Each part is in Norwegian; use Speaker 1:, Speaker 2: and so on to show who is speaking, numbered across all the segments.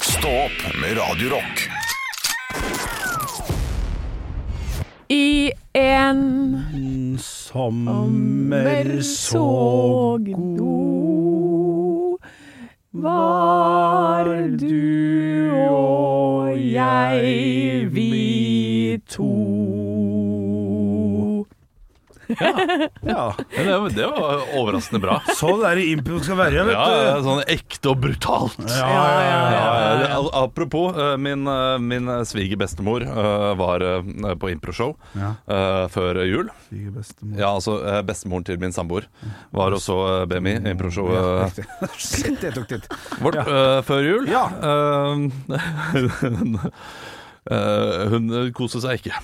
Speaker 1: Stå opp med Radio Rock.
Speaker 2: I en
Speaker 3: En sommer så
Speaker 2: god var du og jeg, vi to.
Speaker 3: Ja.
Speaker 4: Ja, det, var- det var overraskende bra.
Speaker 3: Sånn er det improen skal være, vet
Speaker 4: Ja, ja,
Speaker 3: du.
Speaker 4: sånn ekte og brutalt. Ja, ja, al- Apropos, eh, min, eh, min svigerbestemor eh, var eh, på improshow
Speaker 3: Ja.
Speaker 4: eh, før jul.
Speaker 3: Sier bestemor.
Speaker 4: Ja, altså eh, bestemoren til min samboer var også eh, BMI,
Speaker 3: Ja,
Speaker 4: improshowet
Speaker 3: riktig. Shit, jeg tok det.
Speaker 4: eh, vårt eh, før jul.
Speaker 3: Ja.
Speaker 4: Eh, eh, hun koste seg ikke.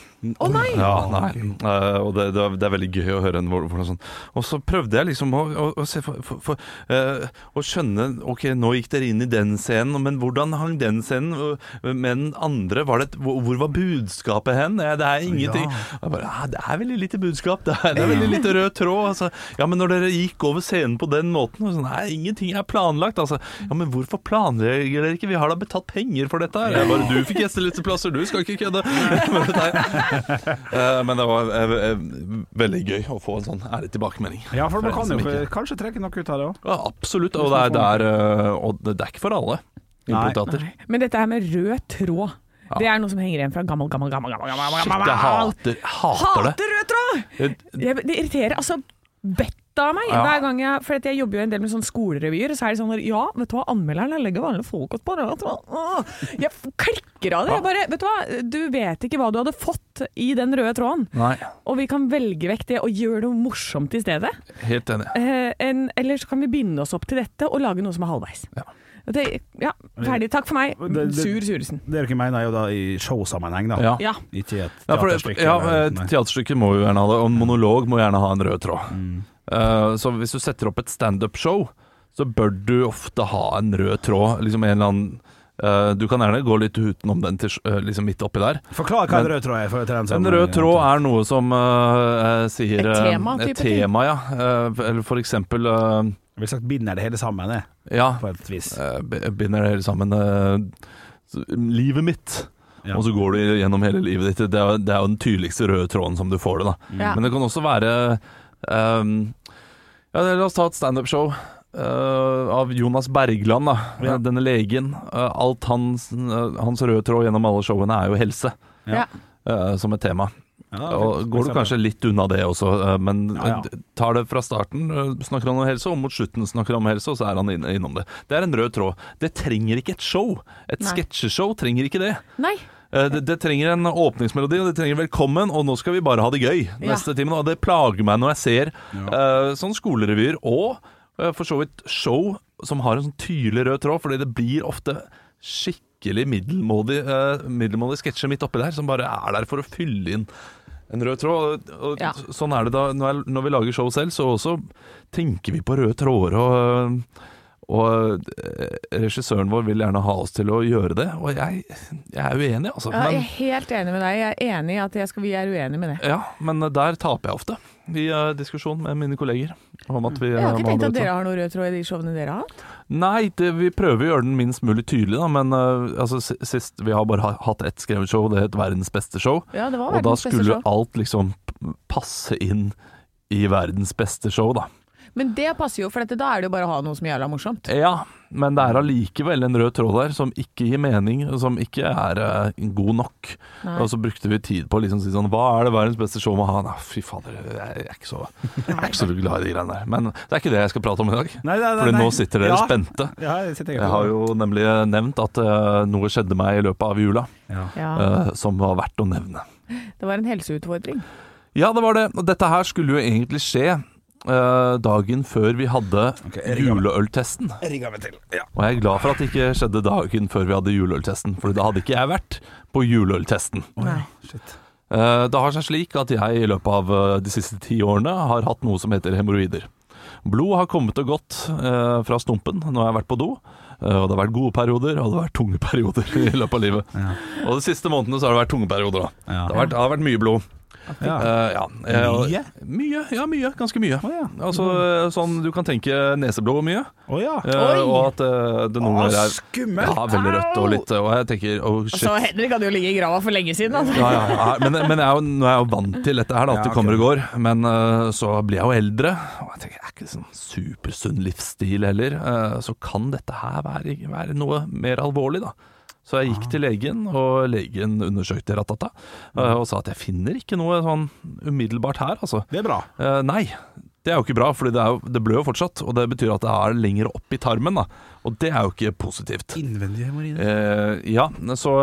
Speaker 2: Å nei!
Speaker 4: Ja, nei. Eh, og det, det, er, det er veldig gøy å høre henne hvor- hvordan sånn. Og så prøvde jeg liksom å, å, å, se for, for, for, eh, å skjønne Ok, nå gikk dere inn i den scenen, men hvordan hang den scenen eh, med den andre? Var det, et- hvor, hvor var budskapet hen? Eh, Det er ingenting. Og Jeg bare, ja, det er veldig lite budskap. Det er, det er veldig lite rød tråd. Altså. Ja, men når dere gikk over scenen på den måten og sånn, Nei, ingenting er planlagt. Altså. Ja, men hvorfor planlegger dere ikke? Vi har da betalt penger for dette her. Jeg bare, du fikk gjestelisteplasser, du skal ikke kødde. Men det er- Eh, Men det var eh, eh, veldig gøy å få en sånn ærlig tilbakemelding.
Speaker 3: Ja, for man
Speaker 4: en
Speaker 3: kan
Speaker 4: som
Speaker 3: jo
Speaker 4: ikke-
Speaker 3: kanskje trekke noe ut av det òg.
Speaker 4: Ja, absolutt. Og det er, det er, eh, og det det er ikke for alle
Speaker 3: Nei.
Speaker 4: implantater.
Speaker 2: Men dette her med rød tråd, det er noe som henger igjen fra gammel, gammel, gammel, gammel, gammel,
Speaker 4: Shit,
Speaker 2: gammel.
Speaker 4: jeg hater, hater det. Eh,
Speaker 2: Hater rød tråd!
Speaker 4: Jeg-
Speaker 2: Det, det irriterer altså vettet av meg
Speaker 4: Ja.
Speaker 2: hver gang jeg For at jeg jobber jo en del med sånne skolerevyer, og så er det sånn der, Ja, vet du hva, anmelderne legger vanlige folk opp på det. vet du hva? Åh, Jeg f- klikker av det. Jeg bare Vet du hva, du vet ikke hva du hadde fått i den røde tråden,
Speaker 4: Nei,
Speaker 2: og vi kan velge vekk det og gjøre noe morsomt i stedet.
Speaker 4: helt enig.
Speaker 2: Eh, en, eller så kan vi binde oss opp til dette og lage noe som er halvveis.
Speaker 4: Ja.
Speaker 2: Det, ja, ferdig. Takk for meg.
Speaker 3: Det- det-
Speaker 2: Sur Suresen.
Speaker 3: Dere mener jo da i showsammenheng, da.
Speaker 4: Ja.
Speaker 2: Ja.
Speaker 3: Ikke i et
Speaker 4: Ja, for det,
Speaker 3: teaterstykke.
Speaker 4: ja,
Speaker 3: eller-
Speaker 4: eh,
Speaker 3: Nei.
Speaker 4: teaterstykket må jo gjerne ha det, og en monolog må gjerne ha en rød tråd. Eh, så hvis du setter opp et standup-show, så bør du ofte ha en rød tråd. Liksom en eller annen eh, Du kan gjerne gå litt utenom den til, eh, liksom midt oppi der.
Speaker 3: Forklar hva en
Speaker 4: Men-
Speaker 3: rød tråd er. For til den som-
Speaker 4: En rød tråd er noe som eh, eh, sier
Speaker 2: Et
Speaker 4: eh,
Speaker 2: tema, type
Speaker 4: Et tema, ja. Eh, eller for eksempel eh,
Speaker 3: Jeg vil sagt binder det hele sammen, jeg,
Speaker 4: Ja,
Speaker 3: på et vis.
Speaker 4: eh, b- binder det hele sammen. eh, så, livet mitt.
Speaker 3: Ja.
Speaker 4: Og så går du gjennom hele livet ditt. Det er, det er jo den tydeligste røde tråden som du får det, da.
Speaker 3: Mm.
Speaker 2: Ja.
Speaker 4: Men det kan også være ehm, ja, La oss ta et standup-show eh, av Jonas Bergland, da.
Speaker 3: Ja.
Speaker 4: Denne legen. Eh, alt hans, eh, hans røde tråd gjennom alle showene er jo helse.
Speaker 3: Ja.
Speaker 4: eh, som et tema.
Speaker 3: Ja,
Speaker 4: Og går du kanskje litt unna det også, eh, men
Speaker 3: Ja, ja.
Speaker 4: eh, tar det fra starten, eh, snakker han om helse, og mot slutten snakker han om helse, og så er han inn- innom det. Det er en rød tråd. Det trenger ikke et show. Et
Speaker 2: Nei.
Speaker 4: sketsjeshow trenger ikke det.
Speaker 2: Nei.
Speaker 4: Eh, Det, det trenger en åpningsmelodi, og det trenger velkommen, og nå skal vi bare ha det gøy
Speaker 2: Ja.
Speaker 4: neste timen. Og det plager meg når jeg ser eh, sånne skolerevyer, og eh, for så vidt show som har en sånn tydelig rød tråd, fordi det blir ofte skikkelig middelmådig, eh, middelmådig sketsjer midt oppi der, som bare er der for å fylle inn en rød tråd. Og, og
Speaker 2: Ja.
Speaker 4: sånn er det da når, jeg, når vi lager show selv, så også tenker vi på røde tråder og eh, og eh, regissøren vår vil gjerne ha oss til å gjøre det, og jeg, jeg er uenig, altså.
Speaker 2: Ja, jeg er
Speaker 4: Men,
Speaker 2: helt enig med deg. Jeg er enig i at jeg skal, vi er uenige med det.
Speaker 4: ja, men der taper jeg ofte i eh, diskusjon med mine kolleger. Om at vi,
Speaker 2: Jeg har
Speaker 4: eh,
Speaker 2: ikke
Speaker 4: må ha
Speaker 2: tenkt
Speaker 4: det
Speaker 2: at
Speaker 4: ut.
Speaker 2: dere har noe rød tråd i de showene dere har hatt.
Speaker 4: Nei, det, vi prøver å gjøre den minst mulig tydelig, da, men eh, altså, si- sist Vi har bare ha- hatt ett skrevet show, det het Verdens beste show.
Speaker 2: Ja, det var
Speaker 4: Og da
Speaker 2: verdens beste
Speaker 4: skulle
Speaker 2: show.
Speaker 4: alt liksom p- passe inn i verdens beste show, da.
Speaker 2: Men det passer jo, for dette, da er det jo bare å ha noe som er jævla morsomt.
Speaker 4: Ja, men det er allikevel en rød tråd der som ikke gir mening, og som ikke er eh, god nok.
Speaker 2: Nei.
Speaker 4: Og så brukte vi tid på å liksom si sånn Hva er det verdens beste show må ha? Nei, fy fader, jeg er ikke så, jeg er ikke så glad i de greiene der. Men det er ikke det jeg skal prate om i dag.
Speaker 3: Nei, nei, nei,
Speaker 4: For
Speaker 3: nei.
Speaker 4: nå sitter dere
Speaker 3: Ja.
Speaker 4: spente.
Speaker 3: Ja, jeg sitter
Speaker 4: Jeg har jo nemlig nevnt at eh, noe skjedde meg i løpet av jula
Speaker 3: ja.
Speaker 2: Ja,
Speaker 4: eh, som var verdt å nevne.
Speaker 2: det var en helseutfordring.
Speaker 4: Ja, det var det. Og Dette her skulle jo egentlig skje eh, dagen før vi hadde
Speaker 3: Ok, jeg rigger meg.
Speaker 4: juleøltesten.
Speaker 3: Jeg rigger meg til. Ja.
Speaker 4: Og jeg er glad for at det ikke skjedde dagen før vi hadde juleøltesten, for da hadde ikke jeg vært på juleøltesten.
Speaker 2: Nei.
Speaker 3: Shit.
Speaker 4: Eh, Det har seg slik at jeg i løpet av eh, de siste ti årene har hatt noe som heter hemoroider. Blod har kommet og gått eh, fra stumpen når jeg har vært på do. eh, Og det har vært gode perioder, og det har vært tunge perioder i løpet av livet. Og de siste månedene så har det vært tunge perioder, da.
Speaker 3: Ja.
Speaker 4: Det har vært, det har vært mye blod.
Speaker 3: Ja.
Speaker 4: Eh, ja. Eh, og-
Speaker 3: Mye?
Speaker 4: Mye, ja mye, ganske mye.
Speaker 3: Å, ja.
Speaker 4: Altså eh, sånn du kan tenke neseblod mye,
Speaker 3: Å ja.
Speaker 4: eh, og at eh, det noen
Speaker 3: Å,
Speaker 4: ganger er
Speaker 3: skummelt!
Speaker 4: ja, veldig rødt og litt eh, Og jeg tenker oh, shit.
Speaker 2: Så Henrik hadde jo ligget i grava for lenge siden. Altså.
Speaker 4: Ja, ja, ja. Men, men jeg er jo, nå er jeg jo vant til dette her, da, at
Speaker 3: Ja,
Speaker 4: det kommer
Speaker 3: ok.
Speaker 4: og går. Men eh, så blir jeg jo eldre, og jeg tenker det er ikke sånn supersunn livsstil heller. eh, så kan dette her være, være noe mer alvorlig, da. Så jeg gikk til legen, og legen undersøkte ratata eh, og sa at jeg finner ikke noe sånn umiddelbart her, altså.
Speaker 3: Det er bra.
Speaker 4: Eh, nei. Det er jo ikke bra, for det, er jo- det blør jo fortsatt, og det betyr at det er lenger opp i tarmen. da Og det er jo ikke positivt.
Speaker 3: Innvendig hemoroide.
Speaker 4: Eh, ja, så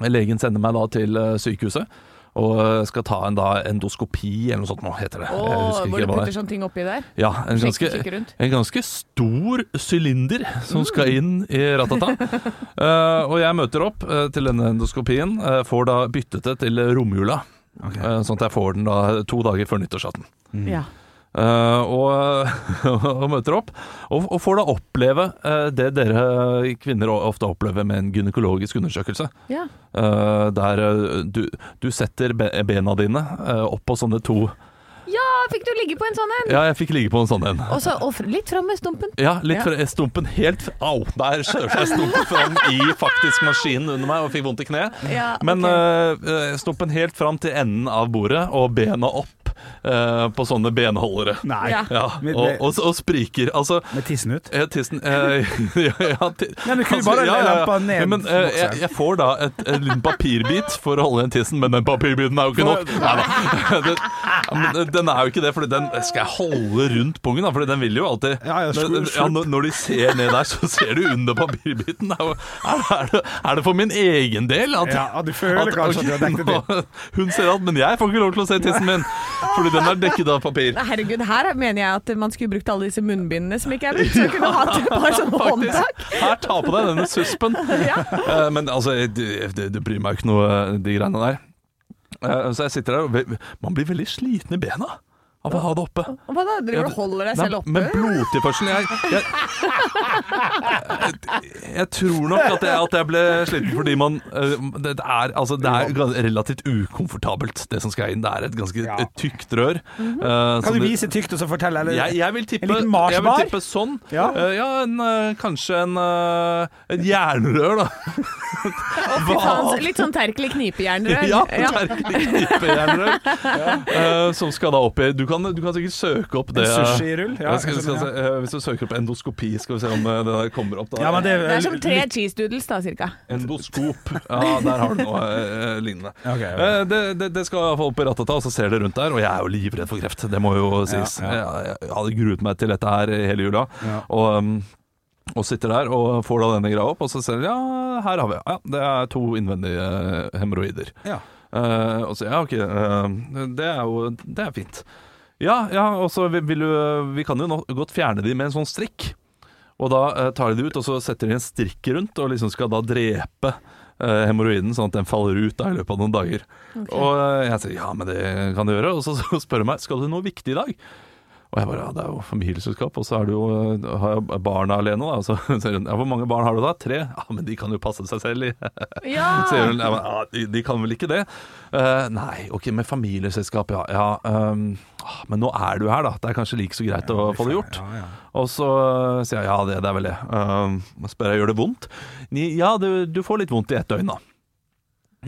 Speaker 4: eh, legen sender meg da til eh, sykehuset og eh, skal ta en da endoskopi eller noe sånt nå, heter det. Jeg
Speaker 2: Åh,
Speaker 4: husker
Speaker 2: hvor
Speaker 4: ikke
Speaker 2: du
Speaker 4: hva
Speaker 2: putter
Speaker 4: det er.
Speaker 2: sånne ting oppi der.
Speaker 4: Ja, en
Speaker 2: Slik
Speaker 4: ganske,
Speaker 2: du kikker Mm. rundt.
Speaker 4: en ganske stor sylinder som skal inn i ratata. Eh, og jeg møter opp eh, til denne endoskopien, eh, får da byttet det til romjula.
Speaker 3: Ok.
Speaker 4: eh, sånn at jeg får den da to dager før nyttårsaften.
Speaker 2: Ja.
Speaker 4: Eh, og, og møter opp, og, og får da oppleve eh, det dere kvinner ofte opplever med en gynekologisk undersøkelse.
Speaker 2: Ja.
Speaker 4: Eh, der eh, du, du setter be- bena dine eh, opp på sånne to
Speaker 5: Ja, fikk du ligge på en sånn en?
Speaker 4: Ja, jeg fikk ligge på en sånn en.
Speaker 5: Og så og fr- litt fram med stumpen.
Speaker 4: Ja, litt
Speaker 2: Ja.
Speaker 4: fra stumpen helt Au! Der skjørte jeg stumpen fram i faktisk maskinen under meg og fikk vondt i kneet.
Speaker 2: Ja,
Speaker 4: Men
Speaker 2: ok.
Speaker 4: eh, eh, stumpen helt fram til enden av bordet og bena opp eh, på sånne benholdere.
Speaker 3: Nei.
Speaker 2: Ja.
Speaker 4: Ja,
Speaker 3: Med-
Speaker 4: og,
Speaker 3: med-
Speaker 4: og, og spriker. Altså,
Speaker 3: Med tissen ut?
Speaker 4: Eh, tissen eh, ja, ja, ti-
Speaker 3: Nei, men du kunne jo bare lempa ned
Speaker 4: Men, eh,
Speaker 3: bokseren.
Speaker 4: jeg, jeg får da et, en liten papirbit for å holde igjen tissen, men den papirbiten er jo ikke nok. Neida. Den, ja, men, eh, den er jo ikke det, Fordi den skal jeg holde rundt pungen, da, Fordi den vil jo alltid
Speaker 3: Ja, ja, slutt,
Speaker 4: Men, eh, ja, når, når de ser ned der, så ser du under papirbiten. Er, jo- er, det- er, det, er det for min egen del? At,
Speaker 3: Ja, du føler kanskje at du har dekket det
Speaker 4: nå- Hun ser alt, men jeg får ikke lov til å se tissen min, fordi den er dekket av papir.
Speaker 2: Nei, Herregud, her mener jeg at man skulle brukt alle disse munnbindene som ikke er brukt. Så kunne hatt et par sånne håndtak.
Speaker 4: Her, ta på deg denne suspen. Eh, Men altså, jeg- det, det, det bryr meg ikke noe, eh, de greiene der. Eh, Så jeg sitter der, og ve- man blir veldig sliten i bena av å ha det oppe.
Speaker 2: Hva da? Driver du og holder deg
Speaker 4: Nei,
Speaker 2: selv oppe?
Speaker 4: Men blodtilførselen jeg, jeg, jeg, jeg tror nok at jeg, at jeg ble sliten fordi man eh, det er, altså, det er gans- relativt ukomfortabelt, det som skal inn. Det er et ganske
Speaker 3: Ja.
Speaker 4: et tykt rør.
Speaker 2: Mhm.
Speaker 4: eh, som
Speaker 3: Kan du
Speaker 4: det-
Speaker 3: vise tykt og så fortelle? Eller?
Speaker 4: jeg, jeg, vil tippe,
Speaker 3: En liten
Speaker 4: jeg vil
Speaker 3: Mars-bar?
Speaker 4: tippe sånn. Ja,
Speaker 3: Ja.
Speaker 4: ja en, eh, kanskje en, eh, en jernrør, da.
Speaker 2: Fy faen, Litt sånn terkelig knipejernrør.
Speaker 4: Ja, en knipejernrør. Eh, som skal da opp i Du kan, du kan sikkert søke opp det.
Speaker 3: En sushirull? Ja,
Speaker 4: Jeg skal, skal,
Speaker 3: en sånn,
Speaker 4: se, eh, hvis du søker opp endoskopi, skal vi se om eh, det der kommer opp. Da.
Speaker 3: Ja, men det,
Speaker 2: Det er som tre cheese doodles, da, cirka.
Speaker 4: Endoskop. Ja, der har du noe eh, lignende.
Speaker 3: Ok, ok.
Speaker 4: Eh, det, det, det skal iallfall opp i ratata, og så ser det rundt der. Og jeg er jo livredd for kreft, det må jo sies.
Speaker 3: Ja,
Speaker 4: Jeg, jeg hadde gruet meg til dette her hele jula.
Speaker 3: Ja.
Speaker 4: Og, um, og sitter der og får da denne greia opp, og så ser jeg ja, her har vi ja, det er to innvendige eh, hemoroider.
Speaker 3: Ja.
Speaker 4: Eh, og så ja, ok, eh, det er jo det er fint. Ja, ja, og så vil, vil du Vi kan jo nå godt fjerne de med en sånn strikk. Og da eh, tar de det ut, og så setter de en strikk rundt, og liksom skal da drepe eh, hemoroiden, sånn at den faller ut da, i løpet av noen dager. Og eh, jeg sier ja, men det kan du gjøre. Og så, så spør de meg skal du noe viktig i dag. Og jeg bare ja, det er jo familieselskap, og så er det jo, eh, har jeg barna alene. Da. Og så sier hun ja, hvor mange barn har du da? Tre? Ja, men de kan jo passe seg selv, de. Så sier hun ja, men, ja, de, de kan vel ikke det? Eh, nei, ok, med familieselskap, ja. ja ehm, ah, men nå er du her, da. Det er kanskje like så greit å få det gjort.
Speaker 3: Ja, ja.
Speaker 4: Og så øh, sier jeg ja, det, det er vel det. Ehm, og spør jeg gjør det vondt. Ni, ja, du, du får litt vondt i ett døgn, da.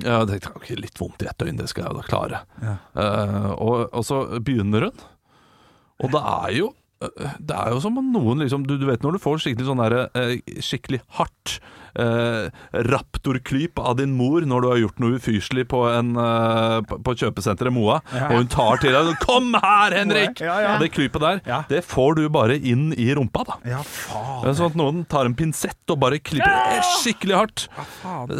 Speaker 4: Ja, jeg tenkte ok, litt vondt i ett døgn, det skal jeg jo da klare.
Speaker 3: Ja.
Speaker 4: Eh, og, og så begynner hun, og det er jo øh, det er jo som om noen liksom Du, du vet når du får skikkelig sånn derre eh, skikkelig hardt eh, raptorklyp av din mor når du har gjort noe ufyselig på, en, eh, på, på kjøpesenteret Moa,
Speaker 3: Ja.
Speaker 4: og hun tar til deg og 'Kom her, Henrik!'
Speaker 3: Ja, ja.
Speaker 4: Og det klypet der,
Speaker 3: Ja.
Speaker 4: det får du bare inn i rumpa, da.
Speaker 3: ja, faen.
Speaker 4: Det er Sånn at noen tar en pinsett og bare klipper skikkelig hardt.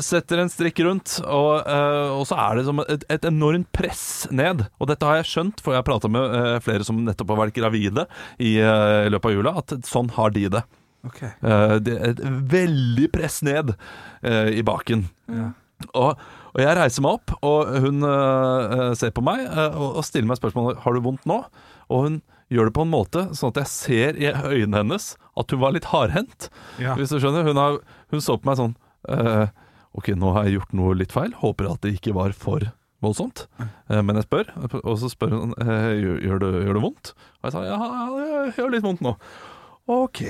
Speaker 4: Setter en strikk rundt, og, eh, og så er det som et, et enormt press ned. Og dette har jeg skjønt, for jeg har prata med eh, flere som nettopp har vært gravide i, eh, i løpet av jula, at sånn har de det.
Speaker 3: Ok.
Speaker 4: Eh, det er et veldig press ned eh, i baken. Og, og jeg reiser meg opp, og hun eh, ser på meg eh, og, og stiller meg spørsmålet Har du vondt nå? Og hun gjør det på en måte sånn at jeg ser i øynene hennes at hun var litt hardhendt.
Speaker 3: Ja.
Speaker 4: Hvis du skjønner, hun, har, hun så på meg sånn eh, Ok, nå har jeg gjort noe litt feil. Håper at det ikke var for voldsomt. Eh, Men jeg spør, og så spør hun eh, gjør gjør det, gjør det vondt. Og jeg sa ja, ja, det gjør litt vondt nå. Ok,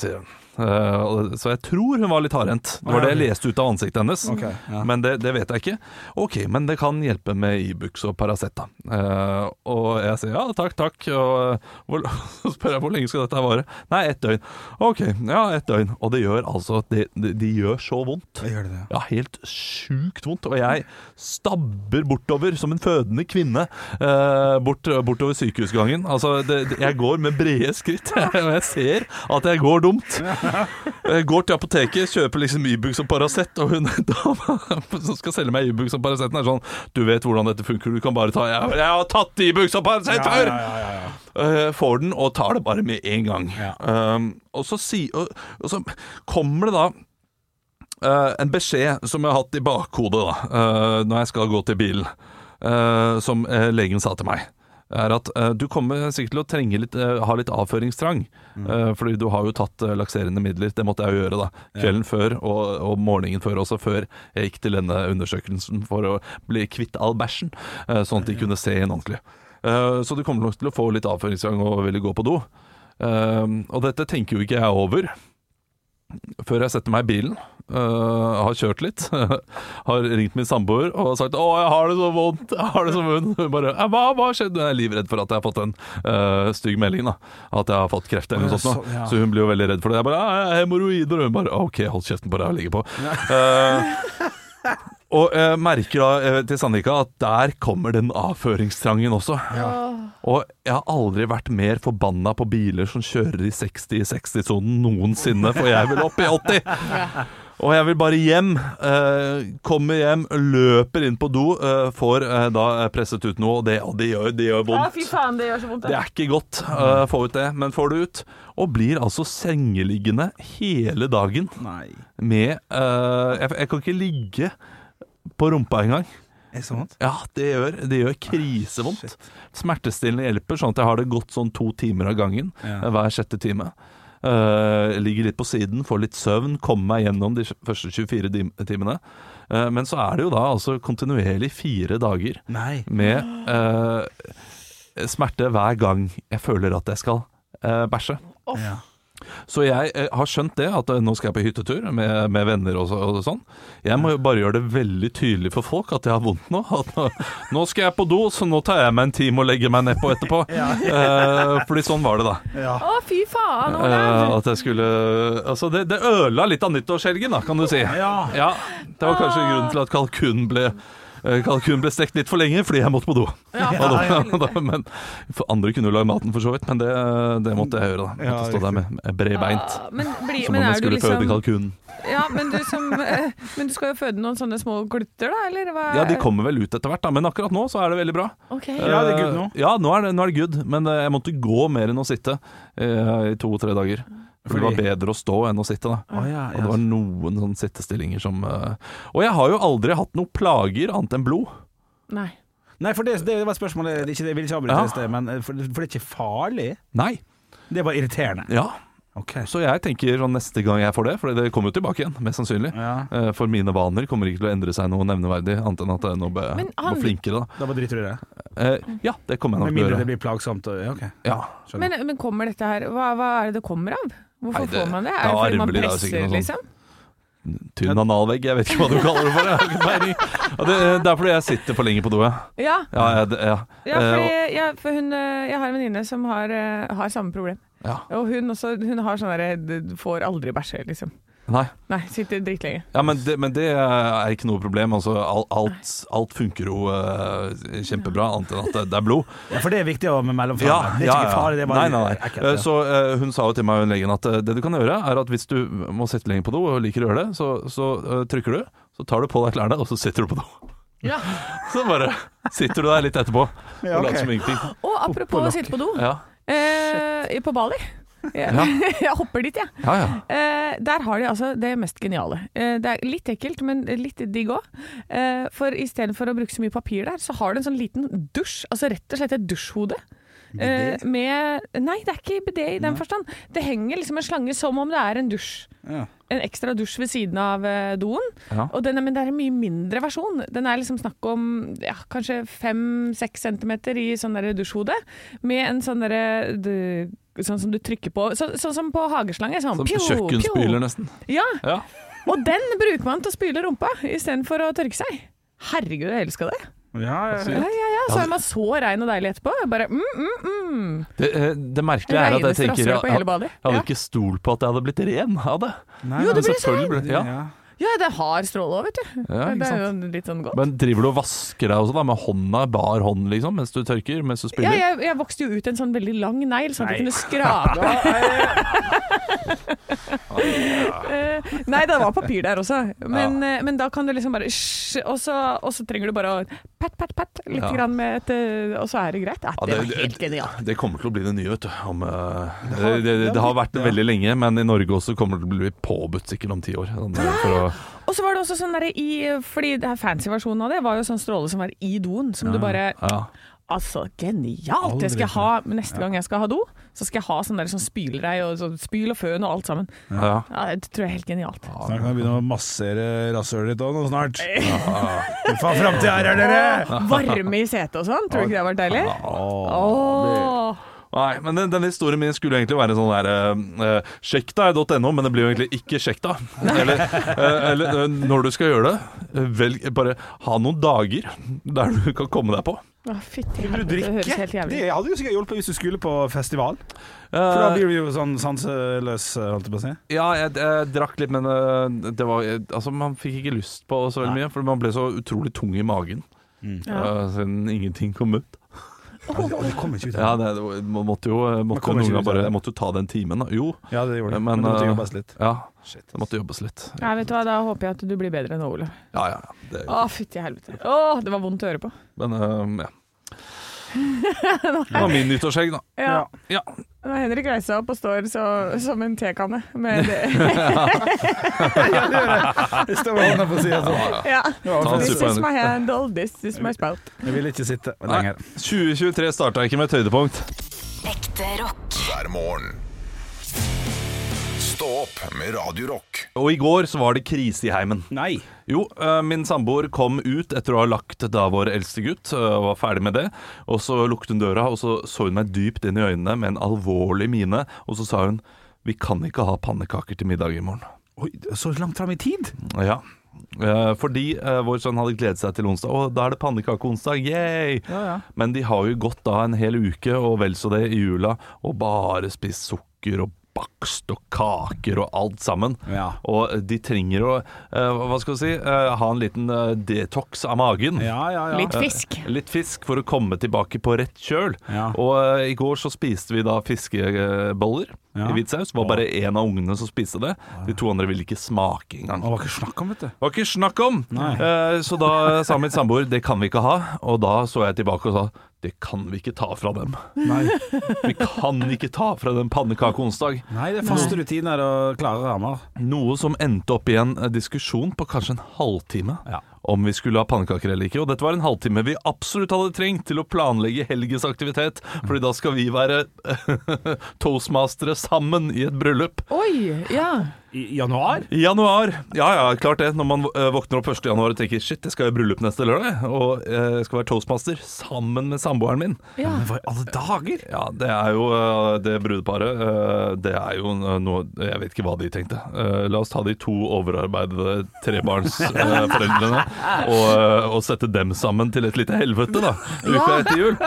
Speaker 4: sier hun. Eh, og- Så jeg tror hun var litt hardhendt. Det var det jeg leste ut av ansiktet hennes.
Speaker 3: Ok, ja.
Speaker 4: Men det, det vet jeg ikke. Ok, men det kan hjelpe med Ibux og Paracet, da. Eh, og jeg sier ja, takk, takk. Og eh, hvor, så spør jeg hvor lenge skal dette her vare. Nei, ett døgn. Ok, ja, ett døgn. Og det gjør altså De, de, de gjør så vondt.
Speaker 3: Det gjør det, ja.
Speaker 4: Ja, helt sjukt vondt. Og jeg stabber bortover som en fødende kvinne eh, bort, bortover sykehusgangen. Altså, det, det, jeg går med brede skritt, og jeg ser at jeg går dumt. Jeg går til apoteket, kjøper liksom Ibux og Paracet, og hun dama som skal selge meg Ibux og Paracet, er sånn Du vet hvordan dette funker, du kan bare ta Jeg, jeg har tatt Ibux og Paracet
Speaker 3: Ja,
Speaker 4: før!
Speaker 3: ja, ja, ja, ja.
Speaker 4: Eh, får den og tar det bare med en gang. Um, og, så si, og, og så kommer det da eh, en beskjed som jeg har hatt i bakhodet da, eh, når jeg skal gå til bilen, eh, som eh, legen sa til meg. Er at eh, du kommer sikkert til å trenge litt, eh, ha litt avføringstrang. eh, fordi du har jo tatt eh, lakserende midler. Det måtte jeg jo gjøre da, kvelden før og, og morgenen før også, før jeg gikk til denne undersøkelsen for å bli kvitt all bæsjen, eh, sånn at de kunne se en ordentlig. Eh, Så du kommer nok til å få litt avføringsgang og ville gå på do. Eh, Og dette tenker jo ikke jeg over før jeg setter meg i bilen. eh, har kjørt litt. har ringt min samboer og sagt 'Å, jeg har det så vondt'. Jeg har det så vondt. Hun bare «Eh, 'Hva hva har skjedd?' Jeg er livredd for at jeg har fått en eh, stygg melding. da At jeg har fått kreft eller
Speaker 3: Å,
Speaker 4: noe
Speaker 3: ja,
Speaker 4: sånt. nå.
Speaker 3: så- ja.
Speaker 4: Så hun blir jo veldig redd for det. Jeg bare «Ja, jeg har 'Hemoroider'. Og hun bare 'OK, hold kjeften på deg og ligge på'. Eh, og jeg merker da eh, til Sandvika at der kommer den avføringstrangen også. Og jeg har aldri vært mer forbanna på biler som kjører i 60 i 60-sonen noensinne, for jeg vil opp i 80! Og jeg vil bare hjem. Eh, kommer hjem, løper inn på do, eh, får eh, da presset ut noe, og det, og det, gjør, det gjør vondt.
Speaker 2: faen, det gjør så vondt.
Speaker 4: Det er ikke godt å få ut det, men får det ut. Og blir altså sengeliggende hele dagen
Speaker 3: Nei.
Speaker 4: med eh, jeg, jeg kan ikke ligge på rumpa engang.
Speaker 3: Er det så vondt?
Speaker 4: Ja, det gjør, det gjør krisevondt. Smertestillende hjelper, sånn at jeg har det godt sånn to timer av gangen
Speaker 3: Ja.
Speaker 4: eh, hver sjette time. Eh, ligger litt på siden, får litt søvn, kommer meg gjennom de første 24 dim- timene. Eh, men så er det jo da altså kontinuerlig fire dager
Speaker 3: Nei.
Speaker 4: med eh, smerte hver gang jeg føler at jeg skal eh, bæsje.
Speaker 3: Ja.
Speaker 4: Så jeg eh, har skjønt det, at eh, nå skal jeg på hyttetur med, med venner og, så, og sånn. Jeg må jo bare gjøre det veldig tydelig for folk at jeg har vondt nå. At nå, nå skal jeg på do, så nå tar jeg meg en time og legger meg nedpå etterpå. Eh, fordi sånn var det, da.
Speaker 3: Ja.
Speaker 5: Å, fy faen, Olav!
Speaker 4: Eh, at jeg skulle Altså, det, det ødela litt av nyttårshelgen, da, kan du si.
Speaker 3: Ja.
Speaker 4: Ja, Det var kanskje grunnen til at kalkunen ble eh, Kalkunen ble stekt litt for lenge fordi jeg måtte på do. Og da- da- men, for andre kunne jo lage maten, for så vidt, men det, det måtte jeg gjøre. da Jeg
Speaker 3: Ja,
Speaker 4: Måtte stå der med, med bredbeint.
Speaker 2: Ah, men, blir-
Speaker 4: Som
Speaker 2: men er
Speaker 4: om jeg
Speaker 2: du
Speaker 4: skulle føde
Speaker 2: liksom
Speaker 4: kalkunen.
Speaker 2: ja, men, du som, eh, men du skal jo føde noen sånne små glutter, da? Eller hva?
Speaker 4: Ja, De kommer vel ut etter hvert, da, men akkurat nå så er det veldig bra.
Speaker 5: Ok.
Speaker 3: Ja, det er good nå.
Speaker 4: Eh, Ja, nå er det, nå er det good, men eh, jeg måtte gå mer enn å sitte eh, i to-tre dager. For det var
Speaker 3: Fordi-
Speaker 4: bedre å stå enn å sitte, da.
Speaker 3: Å, ja,
Speaker 4: Og det var noen sånne sittestillinger som eh, Og jeg har jo aldri hatt noen plager annet enn blod.
Speaker 2: Nei.
Speaker 3: Nei, for det, det var spørsmålet det er ikke- Jeg vil ikke avbryte
Speaker 4: Ja.
Speaker 3: i sted, men eh, for, for det er ikke farlig.
Speaker 4: Nei.
Speaker 3: Det er bare irriterende.
Speaker 4: Ja.
Speaker 3: Ok.
Speaker 4: Så jeg tenker sånn neste gang jeg får det, for det kommer jo tilbake igjen, mest sannsynlig.
Speaker 3: Ja.
Speaker 4: Eh, For mine vaner kommer ikke til å endre seg noe nevneverdig, annet enn at jeg nå ble,
Speaker 2: Men han-
Speaker 4: ble flinkere. Da.
Speaker 3: Da bare driter du i det.
Speaker 4: Eh, ja, det kommer
Speaker 3: Med
Speaker 4: jeg nok til å
Speaker 3: mindre det
Speaker 4: gjøre.
Speaker 3: blir plagsomt. og- Ja, ok.
Speaker 4: Ja.
Speaker 2: Men, men kommer dette her hva, hva er det det kommer av? Hvorfor
Speaker 4: Nei, det-
Speaker 2: får man det?
Speaker 4: det
Speaker 2: Er det
Speaker 4: var
Speaker 2: fordi man
Speaker 4: arvelig, det er
Speaker 2: presser,
Speaker 4: sikkert noe sånt.
Speaker 2: liksom?
Speaker 4: Tynn analvegg, jeg vet ikke hva du kaller det for. Jeg har ikke peiling. Og Det, det er fordi jeg sitter for lenge på do, jeg.
Speaker 2: Ja,
Speaker 4: Ja, jeg- det- ja.
Speaker 2: ja,
Speaker 4: Eh,
Speaker 2: fordi,
Speaker 4: og-
Speaker 2: ja for hun, eh, jeg har en venninne som har, eh, har samme problem.
Speaker 4: ja.
Speaker 2: Og hun, også, hun har sånn derre d- Får aldri bæsje, liksom.
Speaker 4: Nei.
Speaker 2: Nei, sitter drittlenge.
Speaker 4: Ja, men det, men det er ikke noe problem. Altså, alt, alt, alt funker jo eh, kjempebra, annet enn at det, det er blod.
Speaker 3: Ja, for det er viktig å ha med mellomfra. det er
Speaker 4: ja,
Speaker 3: ikke
Speaker 4: ja.
Speaker 3: farlig, det er bare
Speaker 4: nei, nei, nei.
Speaker 3: ekkelt.
Speaker 4: Eh, Så eh, hun sa jo til meg hun legen at eh, det du kan gjøre, er at hvis du må sitte lenge på do og liker å gjøre det, så, så eh, trykker du, så tar du på deg klærne, og så sitter du på do.
Speaker 2: Ja.
Speaker 4: Så bare sitter du der litt etterpå
Speaker 3: Ja, ok.
Speaker 4: og later som ingenting.
Speaker 2: Og apropos å sitte på do.
Speaker 4: Ja,
Speaker 2: Eh, på Bali. Jeg,
Speaker 4: Ja.
Speaker 2: jeg hopper dit, jeg.
Speaker 4: ja. ja.
Speaker 2: Eh, der har de altså det mest geniale. Eh, det er litt ekkelt, men litt digg òg. Eh, for istedenfor å bruke så mye papir der, så har du en sånn liten dusj. Altså rett og slett et dusjhode. eh, med Nei, det er ikke bidé i den forstand. Det henger liksom en slange som om det er en dusj.
Speaker 3: Ja.
Speaker 2: En ekstra dusj ved siden av eh, doen.
Speaker 4: Ja.
Speaker 2: Og den er, men det er en mye mindre versjon. Den er liksom snakk om ja, kanskje fem-seks centimeter i sånn der dusjhode. Med en sånn derre du- Sånn som du trykker på så, Sånn som på hageslange. Sånn,
Speaker 4: Som
Speaker 2: pjo, pjo.
Speaker 4: kjøkkenspyler, nesten.
Speaker 2: Ja,
Speaker 4: Ja.
Speaker 2: og den bruker man til å spyle rumpa istedenfor å tørke seg. Herregud, jeg elsker det.
Speaker 3: Ja, ja.
Speaker 2: Ja, ja, ja. Så er man så rein og deilig etterpå. Jeg bare mm, mm, mm.
Speaker 4: Det, eh, det merkelige er at jeg
Speaker 2: Reineste
Speaker 4: tenker
Speaker 2: rasshøl
Speaker 4: Jeg,
Speaker 2: på hele
Speaker 4: jeg
Speaker 2: badet.
Speaker 4: hadde
Speaker 2: Ja.
Speaker 4: ikke stolt på at jeg hadde blitt ren av det. sånn.
Speaker 3: Nei,
Speaker 2: Jo,
Speaker 3: nei,
Speaker 2: det blir så
Speaker 4: Selvfølgelig ble- Ja.
Speaker 3: ja.
Speaker 2: Ja, det har stråle òg, vet du.
Speaker 4: Ja, ikke
Speaker 2: det er jo litt sånn godt.
Speaker 4: Men driver du og vasker deg også da med hånda, bar hånd liksom, mens du tørker, mens du
Speaker 2: Ja,
Speaker 4: spiller?
Speaker 2: jeg, jeg vokste jo ut en sånn veldig lang negl, sånn at jeg
Speaker 3: Nei.
Speaker 2: kunne skrape. Eh, Nei, det var papir der også, men, eh, men da kan du liksom bare sj, og, så, og så trenger du bare å pat, pat, pat, litt
Speaker 4: Ja.
Speaker 2: grann med et eh, Og så er det greit. Ja,
Speaker 4: Ja,
Speaker 2: det
Speaker 4: det-
Speaker 2: var helt genialt.
Speaker 4: Det kommer til å bli det nye, vet du. Om, eh, det, det, det, det har vært det veldig lenge, men i Norge også kommer det til å bli påbudt sikkert om ti år. Sånn, eh, for å,
Speaker 2: Og så var det også sånn derre i Fordi det her fancy versjonen av det var jo sånn stråle som var i doen, som du bare
Speaker 4: ja.
Speaker 2: Altså, genialt! Det skal jeg ha men neste gang jeg skal ha do. Så skal jeg ha sånn der som spyler deg, og sånn spyl og føn og alt sammen.
Speaker 4: Ja.
Speaker 2: Ja, det tror jeg er helt genialt.
Speaker 3: Snart kan vi begynne å massere rasshølet ditt òg, nå snart. Fy faen, framtida her er dere!
Speaker 2: Varme i setet og sånn, tror du ikke det har vært deilig? Åh.
Speaker 4: Nei, men den, denne historien min skulle egentlig være sånn der eh, eh, Sjekk deg.no, men det blir jo egentlig ikke sjekk deg. Eller, eh, eller eh, når du skal gjøre det, eh, velg bare ha noen dager der du kan komme deg på.
Speaker 2: Å, fytti
Speaker 3: Vil du
Speaker 2: helvete, det høres
Speaker 3: drikke?
Speaker 2: helt jævlig
Speaker 3: Det
Speaker 2: ut.
Speaker 3: hadde jo sikkert hjulpet hvis du skulle på festival. For da
Speaker 4: Eh,
Speaker 3: blir du jo sånn sanseløs, eh, holdt jeg på å si.
Speaker 4: ja, jeg, jeg drakk litt, men eh, det var eh, Altså, man fikk ikke lyst på så veldig mye, for man ble så utrolig tung i magen.
Speaker 3: Mm.
Speaker 2: Ja.
Speaker 4: eh, siden ingenting kom ut.
Speaker 3: Ja, det kommer ikke ut
Speaker 4: Ja,
Speaker 3: av det.
Speaker 4: det, det må- måtte jo eh, måtte
Speaker 3: kommer
Speaker 4: noen
Speaker 3: ikke
Speaker 4: ganger
Speaker 3: ut av
Speaker 4: bare,
Speaker 3: det.
Speaker 4: måtte jo ta den timen, da. Jo,
Speaker 3: Ja, det gjorde det.
Speaker 4: Men,
Speaker 3: Men det måtte
Speaker 4: eh,
Speaker 3: jobbes litt.
Speaker 4: ja.
Speaker 3: Shit.
Speaker 4: Det måtte jobbes litt. Ja,
Speaker 2: Nei, vet du hva, da håper jeg at du blir bedre enn Ole.
Speaker 4: ja. ja det,
Speaker 2: Å, fytti helvete. Å, det var vondt å høre på.
Speaker 4: Men eh, ja. Det var min nyttårshelg, da.
Speaker 2: Ja.
Speaker 4: Ja.
Speaker 2: Når Henrik reiser seg opp og står så, som en tekanne med
Speaker 3: Jeg står med hånda på sida sånn.
Speaker 2: Ja.
Speaker 4: Ta en
Speaker 2: This
Speaker 4: super,
Speaker 2: is
Speaker 4: Henrik.
Speaker 2: my handle, this is my spout.
Speaker 3: Jeg vil ikke sitte
Speaker 4: Nei,
Speaker 3: lenger.
Speaker 4: 2023 starta ikke med et høydepunkt.
Speaker 5: Ekte rock.
Speaker 1: hver morgen. Stå opp med Radio Rock.
Speaker 4: Og i går så var det krise i heimen.
Speaker 3: Nei.
Speaker 4: Jo, eh, min samboer kom ut etter å ha lagt da vår eldste gutt, eh, og var ferdig med det. Og så lukket hun døra, og så så hun meg dypt inn i øynene med en alvorlig mine, og så sa hun vi kan ikke ha pannekaker til middag i morgen.
Speaker 3: Oi, så langt fram i tid?
Speaker 4: Ja. Eh, Fordi eh, vår sønn hadde gledet seg til onsdag. Å, da er det pannekakeonsdag! Yay! Men de har jo gått da en hel uke og vel så det i jula og bare spist sukker og bakst og kaker og alt sammen.
Speaker 3: Ja.
Speaker 4: Og de trenger å, eh, hva skal vi si, eh, ha en liten eh, detox av magen.
Speaker 3: Ja, ja, ja.
Speaker 2: Litt fisk.
Speaker 4: Litt fisk for å komme tilbake på rett kjøl.
Speaker 3: Ja.
Speaker 4: Og eh, i går så spiste vi da fiskeboller
Speaker 3: Ja.
Speaker 4: i hvit saus. Det var bare én av ungene som spiste det. De to andre ville ikke smake engang.
Speaker 3: Det var ikke snakk om, vet du.
Speaker 4: Det var ikke snakk om!
Speaker 3: Nei.
Speaker 4: Eh, så da sa min samboer det kan vi ikke ha. Og da så jeg tilbake og sa det kan vi ikke ta fra dem.
Speaker 3: Nei,
Speaker 4: Vi kan ikke ta fra dem pannekakeonsdag.
Speaker 3: Nei det er faste rutiner og klare rammer.
Speaker 4: Noe som endte opp i en eh, diskusjon på kanskje en halvtime
Speaker 3: Ja.
Speaker 4: om vi skulle ha pannekaker eller ikke. Og dette var en halvtime vi absolutt hadde trengt til å planlegge helgens aktivitet, Fordi da skal vi være toastmastere sammen i et bryllup.
Speaker 2: Oi, ja.
Speaker 3: I januar?
Speaker 4: I januar. Ja, ja, klart det. Når man eh, våkner opp 1. januar og tenker shit, jeg skal i bryllup neste lørdag, og eh, jeg skal være toastmaster sammen med samboeren min.
Speaker 2: ja.
Speaker 3: Men hva i alle dager?
Speaker 4: Ja, det er jo eh, det brudeparet. eh, Det er jo eh, noe Jeg vet ikke hva de tenkte. Eh, La oss ta de to overarbeidede trebarnsforeldrene og, eh, og sette dem sammen til et lite helvete, da. Uka
Speaker 2: Ja.
Speaker 4: etter jul.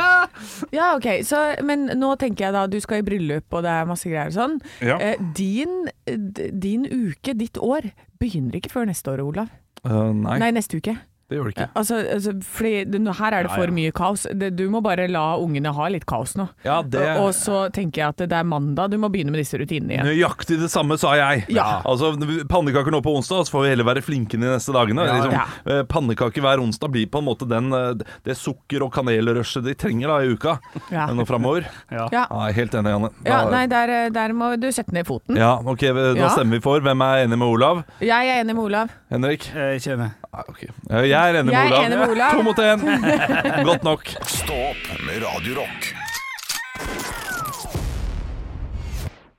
Speaker 2: Ja, ok. Så, men nå tenker jeg da, du skal i bryllup og det er masse greier og sånn.
Speaker 4: Ja.
Speaker 2: Eh, din, d- din uke, ditt år, begynner ikke før neste år, Olav.
Speaker 4: Eh, Nei,
Speaker 2: Nei, neste uke.
Speaker 4: det gjør det ikke.
Speaker 2: Altså, altså fordi det, nå- her er det for mye kaos. Det, du må bare la ungene ha litt kaos nå.
Speaker 4: Ja, det
Speaker 2: Og så tenker jeg at det er mandag, du må begynne med disse rutinene igjen.
Speaker 4: Nøyaktig det samme, sa jeg.
Speaker 2: Ja.
Speaker 4: Altså, Pannekaker nå på onsdag, så får vi heller være flinke de neste dagene.
Speaker 3: Ja,
Speaker 4: liksom,
Speaker 2: ja.
Speaker 4: eh, Pannekaker hver onsdag blir på en måte den, eh, det sukker- og kanelrushet de trenger da i uka
Speaker 2: Ja.
Speaker 4: nå framover.
Speaker 2: Ja.
Speaker 4: Ja, jeg er helt enig, Janne. Da-
Speaker 2: Ja, nei, der, der må du sette ned foten.
Speaker 4: Ja, ok, Da
Speaker 2: Ja.
Speaker 4: stemmer vi for. Hvem er enig med Olav?
Speaker 2: Jeg er enig med Olav.
Speaker 4: Henrik?
Speaker 3: Jeg kjenner
Speaker 4: Nei, ok. Eh, Jeg er enig med
Speaker 2: Jeg er
Speaker 4: Olav.
Speaker 2: enig med Olav.
Speaker 4: To mot én. Godt nok.
Speaker 1: Stå opp med Radio Rock.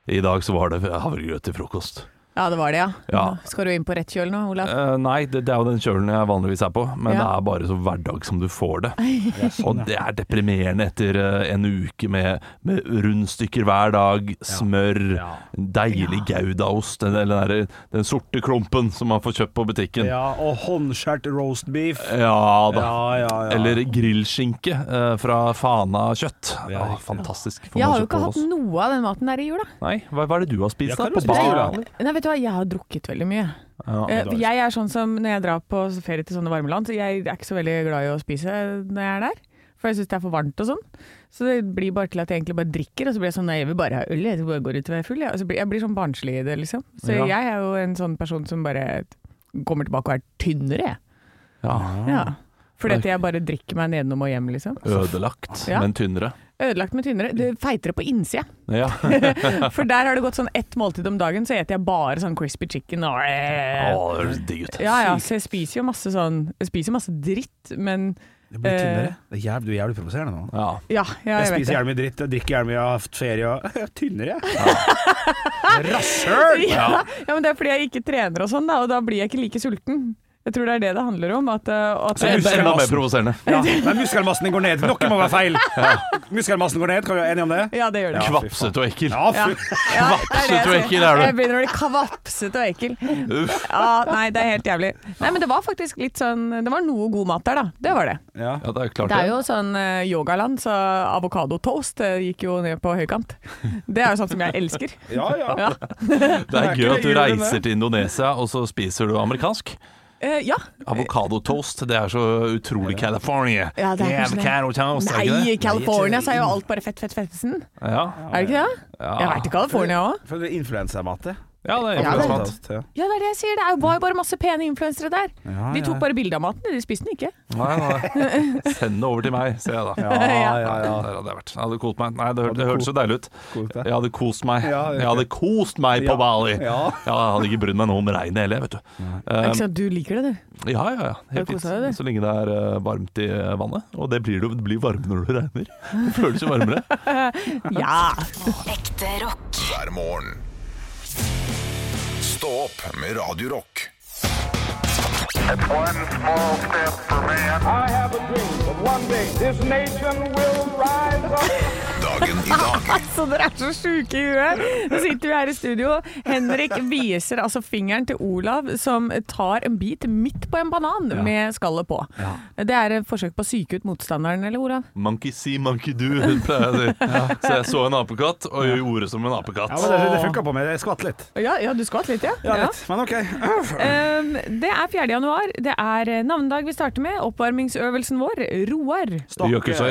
Speaker 4: I dag så var det havregrøt til frokost.
Speaker 2: Ja, det var det, ja.
Speaker 4: Ja.
Speaker 2: Nå Skal du inn på rett kjøl nå, Olav?
Speaker 4: Eh, nei, det, det er jo den kjølen jeg vanligvis er på, men
Speaker 2: Ja.
Speaker 4: det er bare så hverdag som du får det. Og det er deprimerende etter eh, en uke med, med rundstykker hver dag, smør,
Speaker 3: Ja.
Speaker 4: deilig goudaost, den, eller den, der, den sorte klumpen som man får kjøpt på butikken.
Speaker 3: Ja, og håndskjært roast beef.
Speaker 4: Eh, Ja da.
Speaker 3: Ja, ja, ja.
Speaker 4: Eller grillskinke eh, fra Fana kjøtt.
Speaker 3: Ja,
Speaker 4: Ja,
Speaker 3: riktig.
Speaker 4: fantastisk. Får
Speaker 2: Jeg
Speaker 4: man
Speaker 2: har jo
Speaker 4: kjøpt
Speaker 2: ikke
Speaker 4: på
Speaker 2: hatt
Speaker 4: oss.
Speaker 2: noe av den maten der i jula.
Speaker 4: Nei, hva, hva er det du har spist
Speaker 3: Ja, hva
Speaker 4: da?
Speaker 3: er
Speaker 4: På
Speaker 3: det du spiser,
Speaker 4: bar?
Speaker 3: Olav?
Speaker 2: Nei, vet du hva, jeg har drukket veldig mye. Eh,
Speaker 3: det har jeg
Speaker 2: jeg er sånn som når jeg drar på ferie til sånne varme land, så jeg er ikke så veldig glad i å spise når jeg er der. For jeg syns det er for varmt og sånn. Så det blir bare til at jeg egentlig bare drikker, og så blir jeg sånn nei, jeg vil bare ha øl, jeg bare går ut og er full. Jeg, og så blir, jeg blir sånn barnslig i det, liksom. Så
Speaker 4: Ja.
Speaker 2: jeg er jo en sånn person som bare kommer tilbake og er tynnere, jeg.
Speaker 4: Ja,
Speaker 2: Ja. Fordi at jeg bare drikker meg nedenom og hjem, liksom.
Speaker 4: ødelagt,
Speaker 2: Ja.
Speaker 4: men tynnere.
Speaker 2: Ødelagt med tynnere. Det feitere på innsida.
Speaker 4: Ja.
Speaker 2: For der har det gått sånn ett måltid om dagen, så eter jeg bare sånn crispy chicken og eh,
Speaker 4: Å, det høres digg ut.
Speaker 2: Ja ja, så jeg spiser jo masse sånn Jeg spiser masse dritt, men
Speaker 3: Det blir
Speaker 2: Eh.
Speaker 3: tynnere. Det er jævlig, du er jævlig provoserende nå.
Speaker 4: Ja.
Speaker 2: ja, ja
Speaker 3: Jeg
Speaker 2: jeg vet
Speaker 3: spiser
Speaker 2: det.
Speaker 3: jævlig mye dritt, jeg drikker jævlig mye, jeg har hatt ferie og Jeg er Tynnere, jeg. Rasshøl!
Speaker 2: Ja, ja, men det er fordi jeg ikke trener og sånn, da, og da blir jeg ikke like sulten. Jeg tror det er det det handler om. At, uh, at
Speaker 4: Det
Speaker 3: du-
Speaker 4: er enda mer
Speaker 3: muskelmassen.
Speaker 4: provoserende.
Speaker 3: Ja, men muskelmassen din går ned. Noe må være feil. Muskelmassen går ned, kan vi være enige om det?
Speaker 2: ja, det gjør det.
Speaker 3: Ja. fy faen.
Speaker 4: Kvapsete og ekkel.
Speaker 3: Ja,
Speaker 2: Ja.
Speaker 3: fy-
Speaker 2: Ja, det er det jeg
Speaker 4: Kvapsete og
Speaker 2: sier.
Speaker 4: ekkel er du.
Speaker 2: Jeg begynner å bli kvapsete og ekkel.
Speaker 4: Uff.
Speaker 2: Ja, nei, det er helt jævlig. Nei, men det var faktisk litt sånn Det var noe god mat der, da. Det var det.
Speaker 3: ja.
Speaker 4: Ja, det er klart
Speaker 2: Det er jo sånn eh, yogaland, så avokadotoast eh, gikk jo ned på høykant. Det er jo sånt som jeg elsker.
Speaker 3: ja, ja.
Speaker 2: Ja,
Speaker 4: Det er
Speaker 3: ikke
Speaker 4: gøy
Speaker 3: det
Speaker 4: at
Speaker 3: julen,
Speaker 4: du
Speaker 3: det.
Speaker 4: reiser til Indonesia, og så spiser du amerikansk.
Speaker 2: Eh, ja.
Speaker 4: Avokadotoast, det er så utrolig California.
Speaker 2: Ja, det er
Speaker 4: Yeah,
Speaker 2: kanskje det.
Speaker 4: avocado toast, er ikke
Speaker 2: Nei,
Speaker 4: det?
Speaker 2: i California så er jo alt bare fett, fett, fettesen.
Speaker 4: Ja,
Speaker 2: Er det ikke det? Jeg vært i California òg.
Speaker 3: For det er influensermat, det.
Speaker 4: ja det er
Speaker 2: Ja, det er-
Speaker 4: interessant.
Speaker 3: Ja.
Speaker 2: Ja, det er det jeg sier. Det er jo bare, bare masse pene influensere der.
Speaker 3: Ja,
Speaker 2: De
Speaker 3: ja.
Speaker 2: tok bare bilde av maten, de spiste den ikke.
Speaker 4: Nei, nei. Send det over til meg, sier jeg da.
Speaker 3: Ja, ja,
Speaker 4: Ja,
Speaker 3: ja.
Speaker 4: der hadde jeg vært. Jeg hadde kost meg. Nei, det, hør-
Speaker 3: Hadde
Speaker 4: det hørtes så deilig ut.
Speaker 3: Kost deg.
Speaker 4: Jeg hadde kost meg.
Speaker 3: Ja, det-
Speaker 4: Jeg hadde kost meg på
Speaker 3: Ja.
Speaker 4: Bali. Ja,
Speaker 3: Ja.
Speaker 4: jeg hadde ikke brydd meg noe om regnet heller, vet du. Eh,
Speaker 2: Ikke sant, du liker det, du.
Speaker 4: Ja, ja, ja. Helt
Speaker 2: Har du
Speaker 4: fint.
Speaker 2: koset deg, du?
Speaker 4: Så lenge det er eh, varmt i eh, vannet. Og det blir det jo. Det blir varme når det regner. Det føles jo varmere.
Speaker 2: Ja.
Speaker 6: Ekte rock.
Speaker 1: hver morgen. Stå opp med Radio Rock.
Speaker 7: One small step for man. I have a dream that one day this nation will rise up.
Speaker 1: Dagen i dag
Speaker 2: Altså, dere er så sjuke i huet. Nå sitter vi her i studio. Henrik viser altså fingeren til Olav, som tar en bit midt på en banan med skallet på. Det er et forsøk på å psyke ut motstanderen, eller, Olav?
Speaker 4: Monkey see, monkey do, pleier jeg å si. Så jeg så en apekatt, og jeg gjorde som en apekatt.
Speaker 3: Ja, men det, det funka på meg. Jeg skvatt litt.
Speaker 2: Ja, ja du skvatt litt, ja.
Speaker 3: Ja, litt. Men OK.
Speaker 2: Um, det er 4. januar. Det er eh, navnedag vi starter med. Oppvarmingsøvelsen vår, Roar.
Speaker 3: Stakke.
Speaker 4: Gjøkelsøy.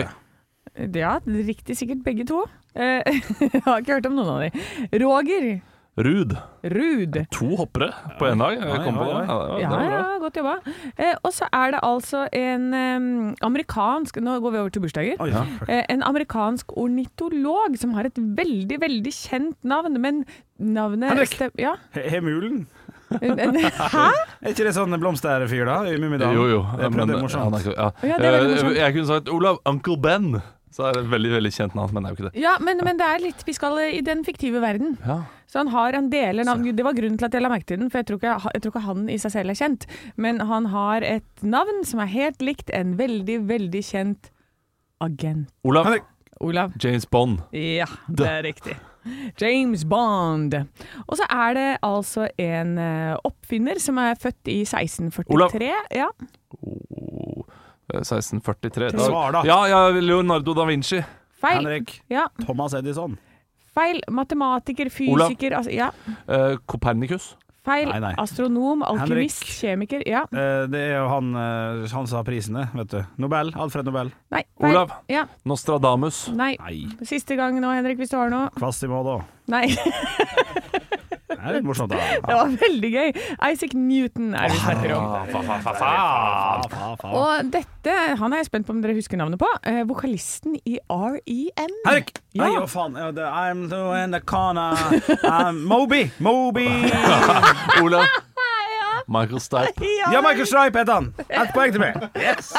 Speaker 2: Ja, riktig sikkert begge to. Eh, jeg har ikke hørt om noen av de. Roger.
Speaker 4: Rud.
Speaker 2: Rud.
Speaker 4: To hoppere på én dag. Jeg kom på det. Ja, det
Speaker 2: Ja,
Speaker 4: var
Speaker 2: ja,
Speaker 4: bra.
Speaker 2: godt jobba. Eh, og så er det altså en em, amerikansk Nå går vi over til bursdager.
Speaker 3: Oi, ja.
Speaker 2: Eh, en amerikansk ornitolog som har et veldig, veldig kjent navn, men navnet
Speaker 3: Henrik.
Speaker 2: stem- Ja.
Speaker 3: He- Hemulen?
Speaker 2: En- en- Hæ?
Speaker 3: Er ikke det sånn blomsterfyr, da? I Mummidalen?
Speaker 4: Jo, jo.
Speaker 3: Jeg prøvde det
Speaker 4: men- ja,
Speaker 3: morsomt.
Speaker 4: nei, ja.
Speaker 2: Ja, det er veldig
Speaker 4: Eh,
Speaker 2: morsomt.
Speaker 4: Jeg kunne sagt Olav Uncle Ben. Så er det et veldig veldig kjent navn, men det er jo ikke det.
Speaker 2: Ja, men, men det er litt Vi skal i den fiktive verden.
Speaker 4: Ja.
Speaker 2: Så han har en deler navn Det var grunnen til at jeg la merke til den, for jeg tror, ikke, jeg tror ikke han i seg selv er kjent. Men han har et navn som er helt likt en veldig, veldig kjent agent.
Speaker 4: Olav
Speaker 3: Henrik.
Speaker 2: Olav.
Speaker 4: James Bond.
Speaker 2: Ja, det er riktig. James Bond. Og så er det altså en eh, oppfinner som er født i 1643.
Speaker 4: Olav.
Speaker 2: Ja.
Speaker 4: Oh, eh, 1643. Da-
Speaker 3: Svar, da.
Speaker 4: Ja, ja, Leonardo da Vinci.
Speaker 2: Feil.
Speaker 3: Henrik.
Speaker 2: Ja,
Speaker 3: Thomas Edison.
Speaker 2: feil. Matematiker,
Speaker 4: Olav.
Speaker 2: fysiker altså, ja.
Speaker 4: Eh, Kopernikus.
Speaker 2: Feil.
Speaker 3: Nei, nei.
Speaker 2: Astronom, alkymist, kjemiker. Ja.
Speaker 3: Eh, Det er jo han, eh, han som har prisene, vet du. Nobel. Alfred Nobel.
Speaker 2: Nei, feil.
Speaker 4: Olav.
Speaker 2: Ja.
Speaker 4: Nostradamus.
Speaker 2: Nei.
Speaker 3: Nei.
Speaker 2: Siste gang nå, Henrik, hvis du har noe.
Speaker 3: Quasimodo.
Speaker 2: Nei, det
Speaker 3: Det er litt morsomt, da.
Speaker 2: var veldig gøy. Isaac Newton er det vi snakker om.
Speaker 4: Ah, fa, fa, fa, fa.
Speaker 3: Faen, faen, faen.
Speaker 2: Og dette, han er jeg spent på om dere husker navnet på. Eh, vokalisten i E REM.
Speaker 3: Henrik!
Speaker 2: Ja.
Speaker 3: Nei, hva faen. Ja, det- I'm the anaconda. I'm uh, Moby. Moby.
Speaker 4: Olav. Michael Stipe.
Speaker 3: Ja, Michael Stripe heter han. Ett poeng til meg. Yes.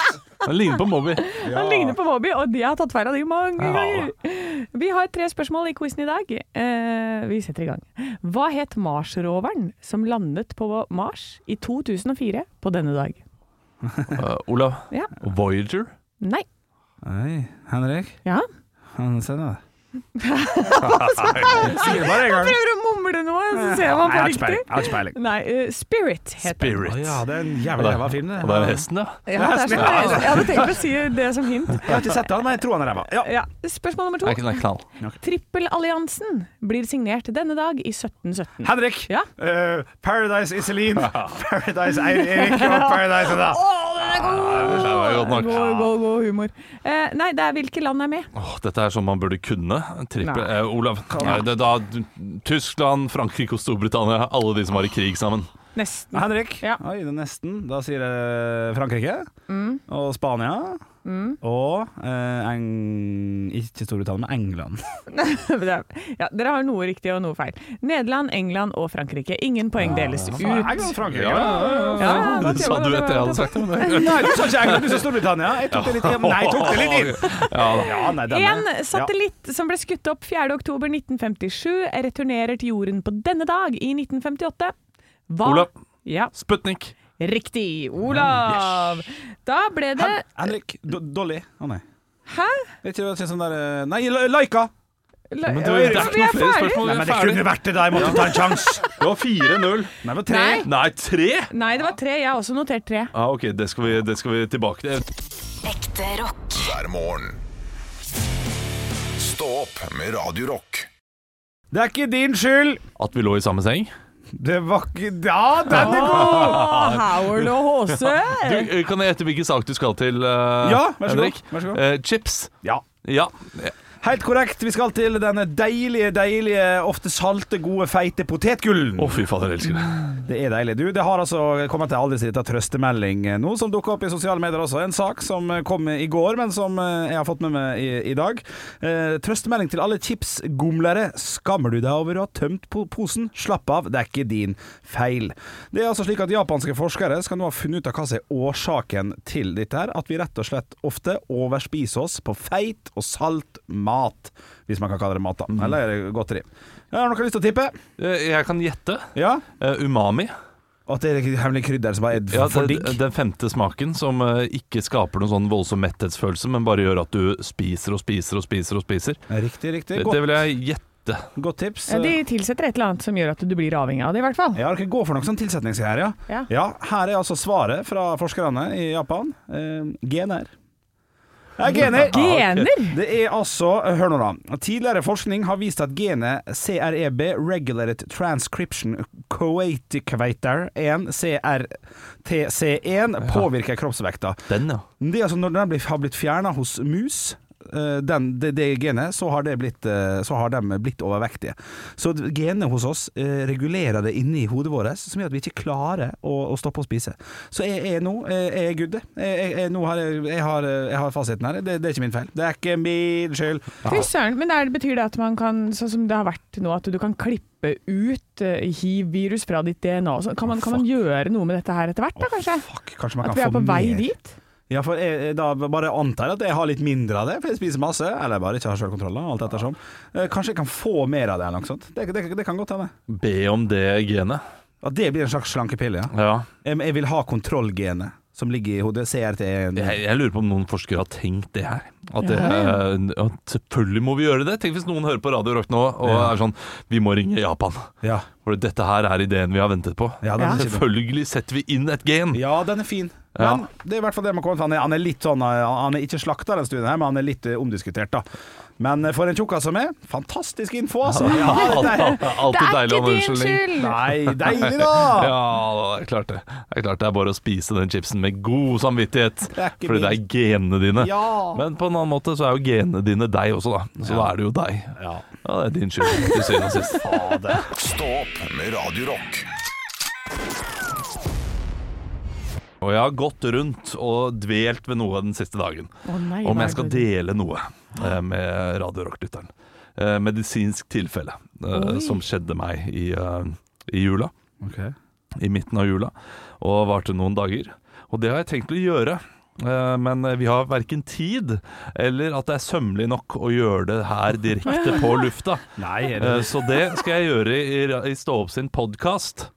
Speaker 8: Han ligner på Moby.
Speaker 2: Han ligner på Bobby, og de har tatt feil av de mange
Speaker 8: Ja.
Speaker 2: ganger. Vi har tre spørsmål i quizen i dag. Eh, vi setter i gang. Hva het Mars-roveren som landet på Mars i 2004 på denne dag?
Speaker 4: Eh, Olav.
Speaker 2: Ja.
Speaker 4: Voyager?
Speaker 2: Nei.
Speaker 3: Nei, Henrik.
Speaker 2: Ja.
Speaker 3: Han ser det.
Speaker 2: Han prøver å mumle noe, så ser man på riktig.
Speaker 3: Jeg har ikke peiling.
Speaker 2: Nei, eh, Spirit het den.
Speaker 8: Spirit.
Speaker 3: Ja, det er en jævlig ræva film, det.
Speaker 4: Og det er hesten, ja.
Speaker 2: Ja, det er sånn, jeg hadde tenkt å si det som hint.
Speaker 3: Jeg har ikke sett den, men jeg tror han er ræva. Ja.
Speaker 2: Ja. Spørsmål nummer
Speaker 4: Er
Speaker 2: to.
Speaker 4: ikke den knall?
Speaker 2: Trippelalliansen blir signert denne dag i 1717.
Speaker 3: Henrik!
Speaker 2: Ja.
Speaker 3: Eh, Paradise Iselin, Paradise Eir- Erik og Paradise Hedda.
Speaker 4: Det var jo godt nok.
Speaker 2: God, god, god humor. Eh, nei, det er hvilke land er med.
Speaker 4: Åh, dette er sånn man burde kunne. Trippel
Speaker 2: Nei.
Speaker 4: eh, Olav. Nei, det, er da, Tyskland, Frankrike og Storbritannia. Alle de som var i krig sammen.
Speaker 2: Nesten.
Speaker 3: Henrik.
Speaker 2: Ja.
Speaker 3: Oi, det er nesten. Da sier jeg Frankrike.
Speaker 2: Mm.
Speaker 3: Og Spania. Og eh, Eng... ikke Storbritannia, men England.
Speaker 2: ja, dere har noe riktig og noe feil. Nederland, England og Frankrike. Ingen poeng deles
Speaker 4: Ah,
Speaker 2: ut.
Speaker 3: England, Frankrike.
Speaker 4: Ja,
Speaker 2: Ja, det var
Speaker 4: Du sa
Speaker 2: trivelig,
Speaker 4: du
Speaker 2: det
Speaker 4: vet det jeg
Speaker 2: var-
Speaker 4: hadde sagt. men det-
Speaker 3: Nei, du sa ikke England, du sa Storbritannia. Jeg tok det litt inn. Nei, jeg tok det litt inn. Ja, nei,
Speaker 2: En
Speaker 3: denne.
Speaker 2: satellitt som ble skutt opp 4.10.1957, returnerer til jorden på denne dag i 1958. Hva?
Speaker 4: Olav.
Speaker 2: Ja,
Speaker 4: Sputnik.
Speaker 2: riktig. Olav. Da ble det
Speaker 3: Hen Henrik. Do Dolly. Å nei.
Speaker 2: Hæ?
Speaker 3: Det er ikke det sånn der eh, Nei, La- Laika!
Speaker 2: La-
Speaker 4: Men du, det er
Speaker 2: Ja, vi
Speaker 4: ikke noe
Speaker 2: er
Speaker 4: flere
Speaker 2: ferdig.
Speaker 4: spørsmål.
Speaker 3: Nei,
Speaker 4: Vi
Speaker 3: men
Speaker 4: er
Speaker 3: det kunne
Speaker 4: ferdig.
Speaker 3: vært det der. Jeg måtte ta en sjanse.
Speaker 4: Det var 4-0.
Speaker 3: Nei, det var tre.
Speaker 2: Nei.
Speaker 4: Nei, 3?
Speaker 2: Nei, det var tre. Jeg har også notert tre.
Speaker 4: Ja, OK, det skal, vi, det skal vi tilbake til.
Speaker 6: Ekte rock.
Speaker 1: hver morgen. Stå opp med Radio Rock.
Speaker 3: Det er ikke din skyld.
Speaker 4: At vi lå i samme seng.
Speaker 3: Det var ikke Ja, den er god!
Speaker 2: Åh, Howard og Håse.
Speaker 4: Du, eh, kan jeg gjette hvilken sak du skal til, eh,
Speaker 3: Ja, vær så god.
Speaker 4: Henrik?
Speaker 3: Vær så god.
Speaker 4: Eh, chips.
Speaker 3: Ja.
Speaker 4: Ja.
Speaker 3: Helt korrekt. Vi skal til denne deilige, deilige, ofte salte, gode, feite potetgullen.
Speaker 4: Å, fy fader, jeg elsker det.
Speaker 3: Det er deilig. Du, det har altså kommet til aldri så lita trøstemelding eh, nå, som dukka opp i sosiale medier også. En sak som eh, kom i går, men som eh, jeg har fått med meg i, i dag. Eh, trøstemelding til alle chipsgomlere. Skammer du deg over å ha tømt po posen? Slapp av, det er ikke din feil. Det er altså slik at japanske forskere skal nå ha funnet ut av hva som er årsaken til dette her. At vi rett og slett ofte overspiser oss på feit og salt mat. Hvis man kan kalle det mat, da. Eller godteri. Ja, Har dere lyst til å tippe?
Speaker 4: Eh, Jeg kan gjette.
Speaker 3: Ja?
Speaker 4: Eh, umami.
Speaker 3: At det er hemmelig krydder som bare er
Speaker 4: Ja,
Speaker 3: for digg?
Speaker 4: den, den femte smaken som eh, ikke skaper noen sånn voldsom metthetsfølelse, men bare gjør at du spiser og spiser og spiser. og spiser.
Speaker 3: Riktig, riktig.
Speaker 4: Det,
Speaker 3: Godt,
Speaker 4: det vil jeg gjette.
Speaker 3: godt tips.
Speaker 2: Ja, de tilsetter et eller annet som gjør at du blir avhengig av det, i hvert fall.
Speaker 3: Ja, dere går for noe sånn tilsetningsgreier, ja.
Speaker 2: Ja.
Speaker 3: Her er altså svaret fra forskerne i Japan. Eh, gener. Det er gener.
Speaker 2: Gener?
Speaker 3: Det er altså, hør nå da Tidligere forskning har vist at genet CREB Regulated Transcription Coaticator 1 CRTC1 påvirker kroppsvekta.
Speaker 4: Den, ja.
Speaker 3: Det er altså når den blir, har blitt fjerna hos mus eh, den, det, det genet, så har, det blitt, eh, så har de blitt overvektige. Så d- genene hos oss eh, regulerer det inni hodet vårt, som gjør at vi ikke klarer å, å stoppe å spise. Så jeg er nå eh, jeg er good. Jeg, jeg, jeg, nå har, jeg, jeg, har, eh, jeg har fasiten her. Det, det er ikke min feil. Det er ikke min skyld.
Speaker 2: Fy søren. Men er, det- betyr det at man kan, sånn som det har vært nå, at du kan klippe ut eh, hiv-virus fra ditt DNA? og sånn? Kan man, kan man gjøre noe med dette her etter hvert, da, kanskje?
Speaker 3: Fuck, kanskje man
Speaker 2: At
Speaker 3: kan
Speaker 2: vi er
Speaker 3: få
Speaker 2: på vei
Speaker 3: mer.
Speaker 2: dit?
Speaker 3: Ja, for jeg, jeg da bare antar jeg at jeg har litt mindre av det, for jeg spiser masse. Eller bare ikke har sjølkontroll, da, alt ettersom. Eh, Kanskje jeg kan få mer av det, eller noe sånt. Det, det, det kan godt hende.
Speaker 4: Be om det genet.
Speaker 3: At det blir en slags slankepille, ja.
Speaker 4: Ja.
Speaker 3: Jeg, jeg vil ha kontrollgenet som ligger i hodet. CRT er en
Speaker 4: Jeg, jeg lurer på om noen forskere har tenkt det her. At, det, eh, at selvfølgelig må vi gjøre det. Tenk hvis noen hører på Radio Rock nå og
Speaker 3: Ja.
Speaker 4: er sånn Vi må ringe Japan.
Speaker 3: Ja.
Speaker 4: For dette her er ideen vi har ventet på.
Speaker 3: Ja, den er ikke dum.
Speaker 4: Selvfølgelig setter vi inn et gen.
Speaker 3: ja, den er fin.
Speaker 4: Ja.
Speaker 3: Men det er i hvert fall det man kommer til. Han er- Han er litt sånn eh, Han er ikke slakta, den studien her, men han er litt eh, omdiskutert, da. Men eh, for en tjukkas som er, fantastisk info, altså. Ja, det er-
Speaker 4: Alt- Alltid deilig å ha en unnskyldning.
Speaker 3: Nei, deilig, da!
Speaker 4: Ja, det er klart det. Det er klart det er bare å spise den chipsen med god samvittighet.
Speaker 3: Det er ikke
Speaker 4: Fordi det er genene dine.
Speaker 3: Ja.
Speaker 4: Men på en annen måte så er jo genene dine deg også, da. Så da er det jo deg. Ja, det er din skyld, til syvende og sist.
Speaker 1: Stå opp med Radio Rock.
Speaker 4: Og jeg har gått rundt og dvelt ved noe den siste dagen.
Speaker 2: Å nei,
Speaker 4: Om
Speaker 2: hva
Speaker 4: jeg skal
Speaker 2: er det?
Speaker 4: dele noe eh, med Radio Rock-lytteren. Eh, Medisinsk tilfelle eh,
Speaker 2: Oi.
Speaker 4: som skjedde meg i, eh, i jula.
Speaker 3: Ok.
Speaker 4: i midten av jula, og varte noen dager. Og det har jeg tenkt å gjøre. Eh, Men vi har verken tid eller at det er sømmelig nok å gjøre det her direkte på lufta.
Speaker 3: Nei, er det
Speaker 4: Eh, Så det skal jeg gjøre i, i Stå opp sin podkast.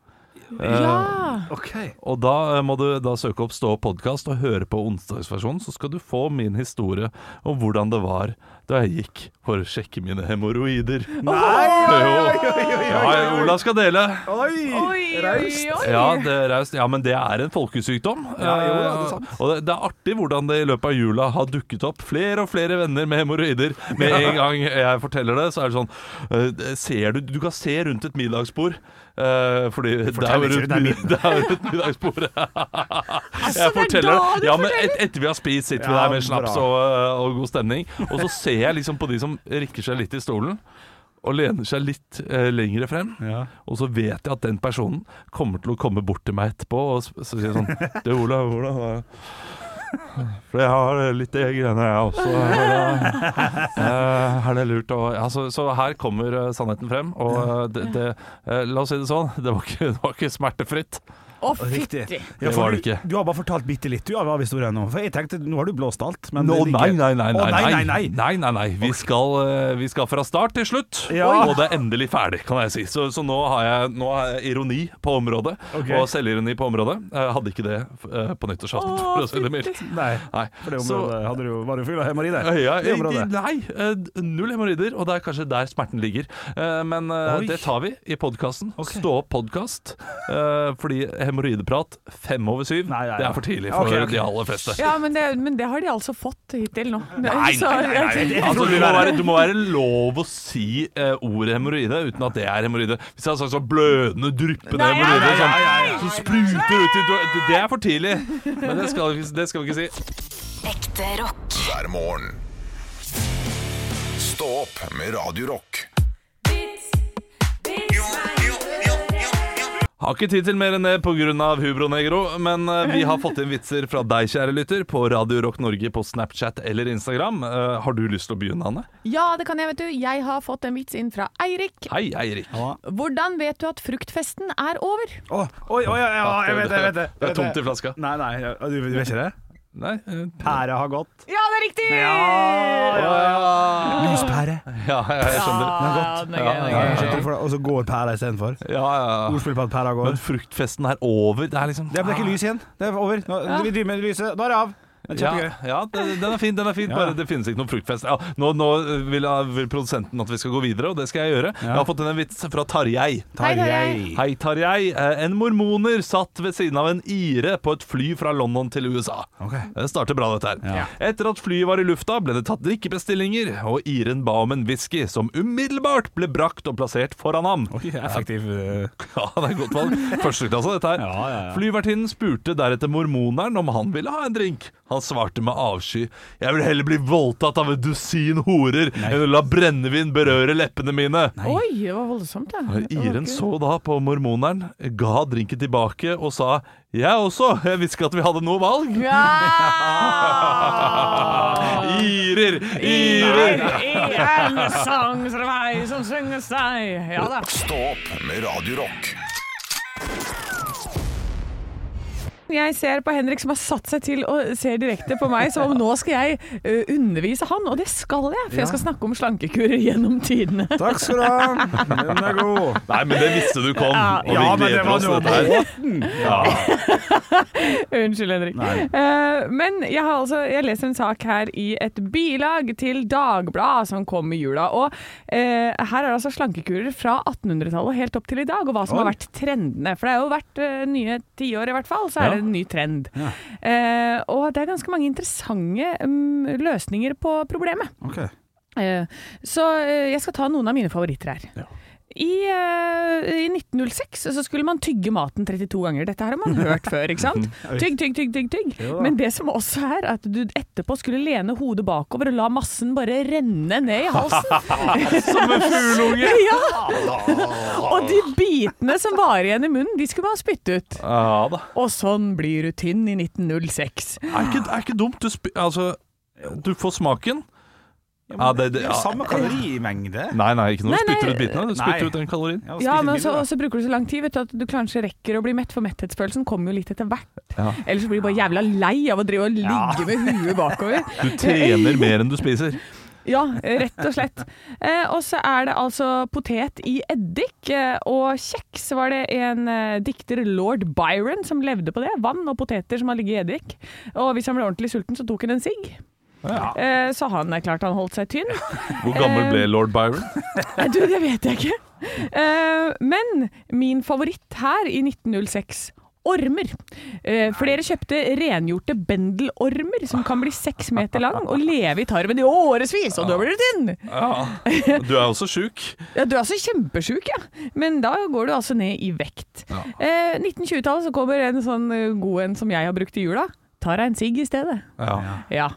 Speaker 2: Ja!
Speaker 3: OK.
Speaker 4: Og da eh, må du da søke opp Stå opp podkast og høre på onsdagsversjonen, så skal du få min historie om hvordan det var da jeg gikk for å sjekke mine hemoroider. Jo. Ja, Ola skal dele.
Speaker 3: Oi!
Speaker 2: Oi,
Speaker 3: Raust.
Speaker 2: oi, oi.
Speaker 4: Ja, det er raust. ja, men det er en folkesykdom.
Speaker 3: Ja, jo da, det er sant.
Speaker 4: Eh, og det, det er artig hvordan det i løpet av jula har dukket opp flere og flere venner med hemoroider. Med en gang jeg forteller det, så er det sånn eh, ser du, du kan se rundt et middagsbord. eh, fordi det er
Speaker 3: forteller ikke
Speaker 4: jo rundt,
Speaker 3: rundt
Speaker 4: mid- det er jo rundt middagsbordet.
Speaker 2: Altså,
Speaker 4: Jeg forteller
Speaker 2: da du
Speaker 4: det. Ja, men
Speaker 2: forteller.
Speaker 4: et, etter vi har spist, sitter vi
Speaker 3: Ja,
Speaker 4: der med
Speaker 3: bra.
Speaker 4: snaps og, eh, og god stemning. Og så ser jeg liksom på de som rikker seg litt i stolen. Og lener seg litt eh, lengre frem.
Speaker 3: Ja.
Speaker 4: Og så vet jeg at den personen kommer til å komme bort til meg etterpå og s- så sier sånn Du, Ola, hvordan var det? For jeg har eh, litt de greiene, jeg også. Eh, er det lurt å ja, så, så her kommer eh, sannheten frem. Og eh, det, det, eh, la oss si det sånn, det var ikke, det var ikke smertefritt.
Speaker 2: Å,
Speaker 3: Riktig.
Speaker 2: fytti!
Speaker 3: Ja,
Speaker 4: Det
Speaker 3: for
Speaker 4: var det
Speaker 3: du-
Speaker 4: ikke.
Speaker 3: Du har bare fortalt bitte litt du, av av historien nå. For jeg tenkte, nå har du blåst alt. Men
Speaker 4: Nå,
Speaker 3: det er
Speaker 4: nei,
Speaker 3: ikke-
Speaker 4: nei, nei,
Speaker 3: Å,
Speaker 4: nei,
Speaker 3: nei, nei, nei.
Speaker 4: nei, nei, nei. Vi, skal, eh, vi skal fra start til slutt,
Speaker 3: Ja.
Speaker 4: og det er endelig ferdig, kan jeg si. Så, så nå, har jeg, nå har jeg ironi på området,
Speaker 3: Ok.
Speaker 4: og selvironi på området. Jeg hadde ikke det eh, på nyttårsaften, for å si det mildt.
Speaker 3: Nei.
Speaker 4: Nei.
Speaker 3: For det
Speaker 4: Så-
Speaker 3: området hadde du, jo- var du full av hemoroider.
Speaker 4: Ja,
Speaker 3: Det området.
Speaker 4: nei, eh, null hemoroider, og det er kanskje der smerten ligger. Eh, Men eh,
Speaker 3: Oi.
Speaker 4: det tar vi i podkasten. Stå opp podkast. Fordi hemoroideprat fem over syv,
Speaker 3: Nei, nei,
Speaker 4: det
Speaker 3: ja.
Speaker 4: er for tidlig for
Speaker 3: Ok, ok.
Speaker 4: de aller fleste.
Speaker 2: Ja, men det, men det har de altså fått hittil nå.
Speaker 4: Nei,
Speaker 2: Så-
Speaker 4: nei, nei, nei.
Speaker 3: jeg tror
Speaker 4: Altså,
Speaker 3: det
Speaker 4: du,
Speaker 3: vil
Speaker 4: må
Speaker 3: være-
Speaker 4: være, du må være lov å si eh, ordet hemoroide uten at det er hemoroide. Hvis jeg hadde sagt sånn blødende, dryppende
Speaker 2: Nei, nei,
Speaker 4: hemoroide
Speaker 2: nei,
Speaker 4: sånn,
Speaker 3: nei, nei,
Speaker 4: som spruter ut i do- Det er for tidlig. Men det skal, vi- det skal vi ikke si.
Speaker 6: Ekte rock.
Speaker 1: hver morgen. Stå opp med Radio Rock.
Speaker 4: Har ikke tid til mer enn det pga. Hubro Negro, men eh, vi har fått inn vitser fra deg, kjære lytter, på Radio Rock Norge på Snapchat eller Instagram. Eh, har du lyst til å begynne, Anne?
Speaker 2: Ja, det kan jeg, vet du. Jeg har fått en vits inn fra Eirik.
Speaker 4: Hei, Eirik.
Speaker 2: Hvordan vet du at fruktfesten er over?
Speaker 3: Å, oi, oi, ja, ja, jeg vet det, jeg vet det.
Speaker 4: Det er
Speaker 3: jeg vet
Speaker 4: tomt i flaska.
Speaker 3: Nei, nei, ja, du, du vet ikke det?
Speaker 4: Nei. eh,
Speaker 3: Pæra har gått.
Speaker 2: Ja, det er riktig!
Speaker 4: ja,
Speaker 3: Lyspære.
Speaker 4: ja, jeg skjønner.
Speaker 2: Ja, den er gøy, den er
Speaker 3: Ja,
Speaker 2: gøy.
Speaker 3: skjønte du for det? Og så går pæra istedenfor.
Speaker 4: Ja, ja.
Speaker 3: Ordspill på at pæra
Speaker 4: Men
Speaker 3: går.
Speaker 4: fruktfesten er over. Det er liksom
Speaker 3: Det ble ikke lys igjen. Det er over. Nå, Vi driver med lyset. Nå er det av. Det er
Speaker 4: Ja,
Speaker 3: kjempegøy.
Speaker 4: ja den, den er fin. den er fin
Speaker 3: Ja.
Speaker 4: Bare det finnes ikke noen fruktfest. Ja, nå nå vil, vil produsenten at vi skal gå videre, og det skal jeg gjøre. Jeg har fått inn en vits fra Tarjei.
Speaker 2: Hei,
Speaker 3: Tarjei.
Speaker 4: Hei, Tarjei. Eh, En mormoner satt ved siden av en ire på et fly fra London til USA.
Speaker 3: Ok.
Speaker 4: Det starter bra, dette her.
Speaker 3: Ja.
Speaker 4: Etter at flyet var i lufta, ble det tatt drikkebestillinger, og iren ba om en whisky, som umiddelbart ble brakt og plassert foran ham.
Speaker 3: Oi, effektiv. eh,
Speaker 4: Ja, det er godt valg. Førsteklasse, dette her.
Speaker 3: Ja, ja, ja.
Speaker 4: Flyvertinnen spurte deretter mormoneren om han ville ha en drink. Han svarte med avsky. Jeg vil heller bli voldtatt av et dusin horer enn å la brennevin berøre leppene mine.
Speaker 2: Oi, det var voldsomt, da.
Speaker 4: Iren så da på mormoneren, ga drinken tilbake og sa jeg også, jeg visste ikke at vi hadde noe valg.
Speaker 2: Ja!
Speaker 4: Irer! Irer!
Speaker 2: I en sang som meg som synges deg. Ja da.
Speaker 1: Stå opp med Radio Rock.
Speaker 2: Jeg ser på Henrik som har satt seg til og ser direkte på meg som om nå skal jeg ø, undervise han, og det skal jeg, for jeg skal snakke om slankekurer gjennom tidene.
Speaker 3: Takk skal du ha. Den er god.
Speaker 4: Nei, men det visste du kom, og vi
Speaker 3: Ja, men det
Speaker 4: gleder
Speaker 3: var
Speaker 4: oss til
Speaker 3: noe
Speaker 4: dette her. Ja.
Speaker 2: Unnskyld, Henrik. Eh, men jeg har altså jeg leser en sak her i et bilag til Dagbladet som kom i jula. Og eh, her er altså slankekurer fra 1800-tallet helt opp til i dag, og hva som har vært trendene. For det har jo vært eh, nye tiår i hvert fall, så er
Speaker 4: Ja.
Speaker 2: det en ny trend. Eh, og det er ganske mange interessante mm, løsninger på problemet.
Speaker 3: Ok.
Speaker 2: Eh, Så eh, jeg skal ta noen av mine favoritter her. I, eh, I 1906 så skulle man tygge maten 32 ganger. Dette her har man hørt før, ikke sant? Tygg, tygg, tygg, tygg. tygg.
Speaker 3: Jo da.
Speaker 2: Men det som også er at du etterpå skulle lene hodet bakover og la massen bare renne ned i halsen. som en fugleunge! ja! Og de bitene som var igjen i munnen, de skulle man spytte ut.
Speaker 4: ja da.
Speaker 2: Og sånn blir rutinen i 1906.
Speaker 4: Er ikke, er ikke dumt. Du, sp altså, du får smaken. Ja, det, det,
Speaker 3: Det er jo
Speaker 4: ja.
Speaker 3: samme kalorimengde.
Speaker 4: Nei, nei, ikke når du
Speaker 2: Nei,
Speaker 4: spytter
Speaker 2: nei.
Speaker 4: ut bitene. Du
Speaker 3: Nei.
Speaker 4: spytter ut den kalorien.
Speaker 3: Ja, altså,
Speaker 2: Ja,
Speaker 3: spise
Speaker 2: men
Speaker 3: mindre,
Speaker 2: så,
Speaker 3: da.
Speaker 2: så bruker du så lang tid vet du, at du kanskje rekker å bli mett, for metthetsfølelsen kommer jo litt etter hvert.
Speaker 4: Ja.
Speaker 2: Ellers så blir du bare jævla lei av å drive og ligge med huet bakover. Eh,
Speaker 4: Du trener mer enn du spiser.
Speaker 2: Ja, rett og slett. Eh, og så er det altså potet i eddik eh, og kjeks, var det en eh, dikter, lord Byron, som levde på det. Vann og poteter som har ligget i eddik. Og hvis han ble ordentlig sulten, så tok han en sigg. Eh, så han er klart han holdt seg tynn.
Speaker 4: Hvor gammel
Speaker 2: Eh,
Speaker 4: ble lord Byron?
Speaker 2: Nei, Du, det vet jeg ikke. Eh, men min favoritt her i 1906 Ormer. Eh, flere kjøpte rengjorte bendelormer som kan bli seks meter lang og leve i tarmen i årevis, og da blir du tynn!
Speaker 4: Ja. Du er også sjuk.
Speaker 2: Ja, du er altså kjempesjuk, ja. Men da går du altså ned i vekt. Eh, 1920-tallet så kommer en sånn eh, god en som jeg har brukt i jula. Tar deg en sigg i stedet.
Speaker 4: Ja.
Speaker 2: Ja.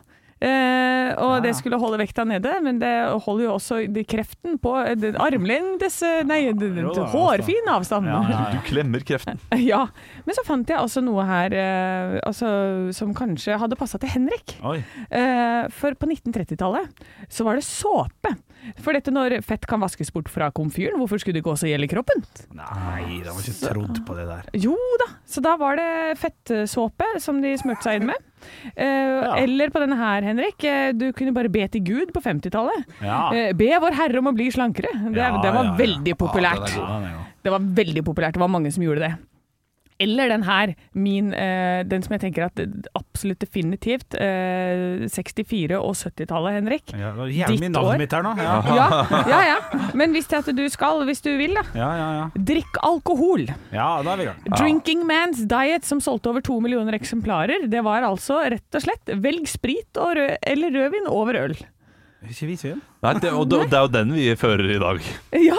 Speaker 2: Eh, og
Speaker 3: Ah.
Speaker 2: det skulle holde vekta nede, men det holder jo også de- kreften på eh, den armlengdes eh, Nei, d- d-
Speaker 3: Jo da,
Speaker 2: hårfin avstand.
Speaker 3: Ja, ja,
Speaker 4: Du klemmer kreften.
Speaker 2: Ja. Men så fant jeg også noe her eh, altså, som kanskje hadde passa til Henrik.
Speaker 3: Oi.
Speaker 2: Eh, for på 1930-tallet så var det såpe. For dette når fett kan vaskes bort fra komfyren, hvorfor skulle det ikke også gjelde kroppen?
Speaker 3: altså- Nei, de har ikke trodd på det der.
Speaker 2: Jo da, så da var det fettsåpe som de smurte seg inn med. Eh, Eller på denne her, Henrik, eh, du kunne bare be til Gud på 50-tallet.
Speaker 3: Ja.
Speaker 2: Eh, be Vår Herre om å bli slankere. Det,
Speaker 3: Ah. Ja,
Speaker 2: det var
Speaker 3: ja, ja.
Speaker 2: veldig populært.
Speaker 3: Ja, den er god.
Speaker 2: Det var veldig populært, det var mange som gjorde det. Eller den her, min, eh, den som jeg tenker at absolutt definitivt eh, 64- og 70-tallet, Henrik.
Speaker 3: Ja, det var jævlig mye
Speaker 2: Ditt
Speaker 3: navnet
Speaker 2: år?
Speaker 3: mitt her nå. Ja,
Speaker 2: Ja, ja, ja. Men hvis det at du skal, hvis du vil, da.
Speaker 3: ja, ja. Ja,
Speaker 2: Drikk alkohol.
Speaker 3: ja da er vi i gang.
Speaker 2: Drinking Man's Diet, som solgte over to millioner eksemplarer. Det var altså rett og slett velg sprit og rød, eller rødvin over øl.
Speaker 3: Ikke hvitvin?
Speaker 4: Nei, det, og det, det er jo den vi fører i dag. Eh,
Speaker 2: Ja,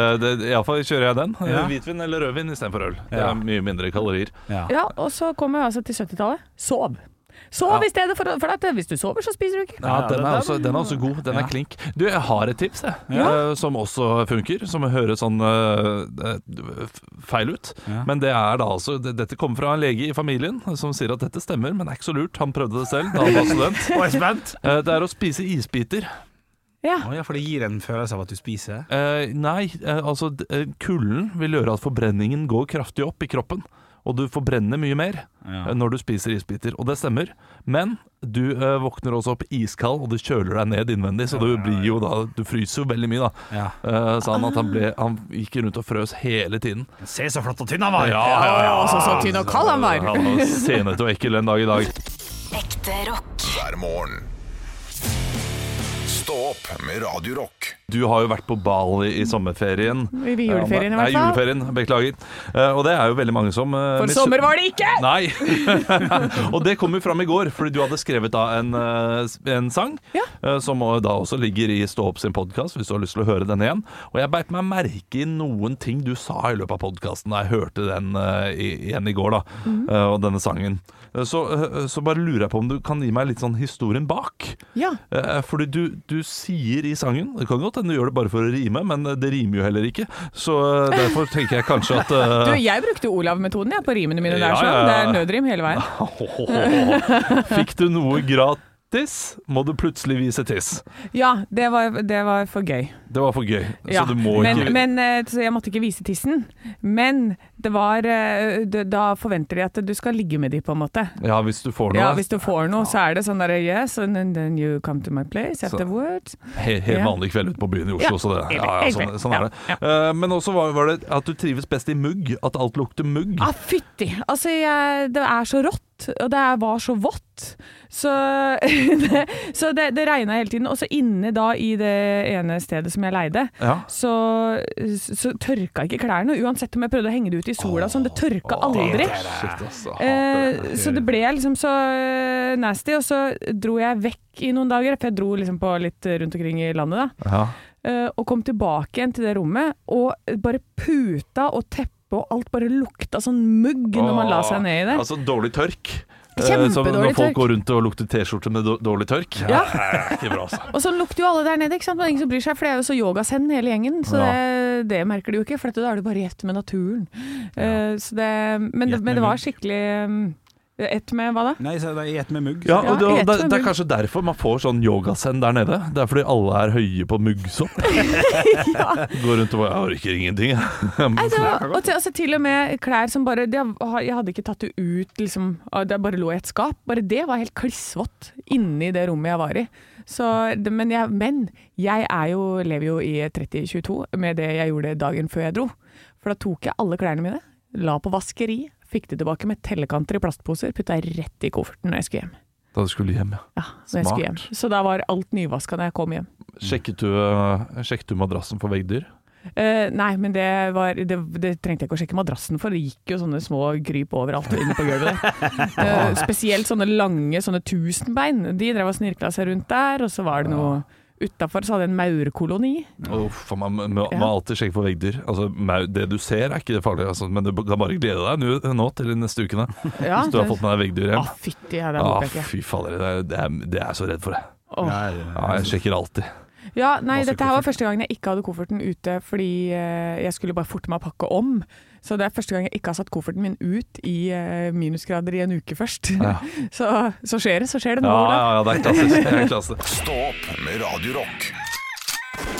Speaker 4: Iallfall kjører jeg den. Eh,
Speaker 3: Ja.
Speaker 4: Hvitvin eller rødvin istedenfor øl. Det
Speaker 3: Ja.
Speaker 4: er mye mindre kalorier.
Speaker 3: Ja.
Speaker 2: ja og så kommer vi altså til 70-tallet. Sov. Sov i stedet for, for at hvis du sover, så spiser du ikke.
Speaker 4: Ja,
Speaker 3: Ja,
Speaker 4: den
Speaker 3: den-
Speaker 4: er, også, den er også god. Den er klink. Du, jeg har et tips, jeg. eh, Som også funker. Som høres sånn eh, eh, f- feil ut.
Speaker 3: Ja.
Speaker 4: Men det er da altså det- Dette kommer fra en lege i familien som sier at dette stemmer, men det er ikke så lurt. Han prøvde det selv da han var student.
Speaker 3: Å, jeg er spent.
Speaker 4: Eh, Det er å spise isbiter.
Speaker 2: Ja.
Speaker 3: Å, ja, for det gir en følelse av at du spiser.
Speaker 4: Eh, Nei, eh, altså d- eh, kulden vil gjøre at forbrenningen går kraftig opp i kroppen. Og du forbrenner mye mer eh, når du spiser isbiter, og det stemmer. Men du eh, våkner også opp iskald, og du kjøler deg ned innvendig, så du blir jo da Du fryser jo veldig mye, da.
Speaker 3: Ja.
Speaker 4: Eh, sa han at han,
Speaker 2: Ah.
Speaker 4: ble, han gikk rundt og frøs hele tiden.
Speaker 3: Se så flott og tynn han var!
Speaker 2: Altså, så tynn og kald han var.
Speaker 4: Han var senete og ekkel en dag i dag.
Speaker 6: Ekte rock.
Speaker 1: hver morgen. Stå opp med Radio Rock.
Speaker 4: Du har jo vært på Bali i sommerferien.
Speaker 2: I juleferien, i hvert
Speaker 4: Nei,
Speaker 2: fall.
Speaker 4: juleferien, beklager. Eh, og det er jo veldig mange som eh,
Speaker 2: For
Speaker 4: mis-
Speaker 2: sommer var det ikke!
Speaker 4: Nei! og det kom jo fram i går, fordi du hadde skrevet da en, eh, s- en sang
Speaker 2: Ja.
Speaker 4: eh, som eh, da også ligger i Stå opp sin podkast, hvis du har lyst til å høre den igjen. Og jeg beit meg merke i noen ting du sa i løpet av podkasten da jeg hørte den eh, i- igjen i går, da,
Speaker 2: Mhm.
Speaker 4: eh, og denne sangen. Eh, Så, eh, så bare lurer jeg på om du kan gi meg litt sånn historien bak.
Speaker 2: Ja.
Speaker 4: Eh, Fordi du, du sier i sangen Det kan godt hende du gjør det bare for å rime, men det rimer jo heller ikke. Så eh, derfor tenker jeg kanskje at
Speaker 2: Du,
Speaker 4: eh,
Speaker 2: jeg brukte Olav-metoden jeg, på rimene mine der,
Speaker 4: Ja,
Speaker 2: sånn.
Speaker 4: ja,
Speaker 2: Det
Speaker 4: ja.
Speaker 2: er nødrim hele veien.
Speaker 4: Fikk du noe gratis, må du plutselig vise tiss.
Speaker 2: Ja, det var, det var for gøy.
Speaker 4: Det var for gøy,
Speaker 2: Ja,
Speaker 4: så du må
Speaker 2: men,
Speaker 4: ikke
Speaker 2: men, eh, så jeg måtte ikke vise tissen. Men det var eh, d- Da forventer de at du skal ligge med de, på en måte.
Speaker 4: Ja, hvis du får noe.
Speaker 2: Ja, hvis du får noe, så er det sånn derre Yes, and then, then you come to my place afterwards.
Speaker 4: Helt, helt
Speaker 2: Ja.
Speaker 4: vanlig kveld ute på byen i Oslo.
Speaker 2: Ja,
Speaker 4: Så det, ja, ja,
Speaker 2: helt
Speaker 4: sånn,
Speaker 2: greit.
Speaker 4: sånn er det. Eh, men også var, var det at du trives best i mugg. At alt lukter mugg.
Speaker 2: Ah, fytti! Altså, jeg, det er så rått, og det er- var så vått. Så, så det, det regna hele tiden. Og så inne da i det ene stedet som jeg leide,
Speaker 4: Ja.
Speaker 2: så, så tørka ikke klærne. Uansett om jeg prøvde å henge det ut i sola, sånn, det tørka aldri.
Speaker 4: Shit, altså.
Speaker 2: Eh, så det ble liksom så eh, nasty, og så dro jeg vekk i noen dager, for jeg dro liksom på litt rundt omkring i landet, da.
Speaker 4: Ja.
Speaker 2: Eh, og kom tilbake igjen til det rommet, og bare puta og teppet og alt bare lukta sånn mugg når man la seg ned i det.
Speaker 4: Altså dårlig tørk. Eh,
Speaker 2: Kjempedårlig
Speaker 4: som når folk
Speaker 2: tørk.
Speaker 4: går rundt og lukter T-skjorte med då- dårlig tørk.
Speaker 2: Ja.
Speaker 4: Det er ikke bra, altså.
Speaker 2: Og sånn lukter jo alle der nede, ikke sant? Men det er ingen som bryr seg, for det er jo så yogasend hele gjengen, så det, det merker de jo ikke, for dette, da er du bare gjett med naturen. Eh, så det, men, det, men det var skikkelig Ett med hva da?
Speaker 3: Nei, så det er ett med mugg.
Speaker 4: Ja,
Speaker 2: Ja,
Speaker 4: og det,
Speaker 2: jeg
Speaker 4: det,
Speaker 2: tror
Speaker 4: det er
Speaker 2: mugg.
Speaker 4: kanskje derfor man får sånn yogasend der nede. Det er fordi alle er høye på muggsopp. Går rundt og bare 'Jeg orker ingenting', jeg.
Speaker 2: Altså, og til, altså, til og med klær som bare det, har- Jeg hadde ikke tatt det ut, liksom. og Det bare lå i et skap. Bare det var helt klissvått inni det rommet jeg var i. Så, det- men jeg, men jeg er jo, lever jo i 3022 med det jeg gjorde dagen før jeg dro. For da tok jeg alle klærne mine, la på vaskeri, fikk det tilbake med tellekanter i plastposer, putta rett i kofferten når jeg skulle hjem.
Speaker 4: Da du skulle hjem, ja.
Speaker 2: Ja, når jeg skulle hjem.
Speaker 4: Smart.
Speaker 2: Så da var alt nyvaska når jeg kom hjem.
Speaker 4: Sjekket du, eh, sjekket du madrassen for veggdyr?
Speaker 2: Eh, nei, men det, var, det, det trengte jeg ikke å sjekke madrassen for. Det gikk jo sånne små gryp overalt inne på gulvet. der. Eh, spesielt sånne lange sånne tusenbein. De drev og snirkla seg rundt der, og så var det noe Utafor så hadde jeg en maurkoloni.
Speaker 4: Uff, man må, må
Speaker 2: Ja.
Speaker 4: alltid sjekke for veggdyr. Altså, mau- det du ser er ikke det farlige, altså, men du kan bare glede deg nå, nå til de neste ukene.
Speaker 2: Ja,
Speaker 4: Hvis du har fått med deg veggdyr
Speaker 2: Å,
Speaker 4: hjem.
Speaker 2: fytti, ja, det håper
Speaker 4: Ah,
Speaker 2: jeg ikke.
Speaker 4: fy fader, det er, det, er, det er jeg så redd for. jeg.
Speaker 2: Åh.
Speaker 3: eh,
Speaker 4: Ja, jeg sjekker alltid.
Speaker 2: Ja, nei,
Speaker 4: Masse
Speaker 2: dette her var første gangen jeg ikke hadde kofferten ute fordi eh, jeg skulle bare forte meg å pakke om. Så det er første gang jeg ikke har satt kofferten min ut i eh, minusgrader i en uke først.
Speaker 4: Ja.
Speaker 2: så, så skjer det, så skjer det nå,
Speaker 4: Ja,
Speaker 2: Olav.
Speaker 4: ja, ja, det er klasse. Det er klasse.
Speaker 1: Stå opp med Radio Rock.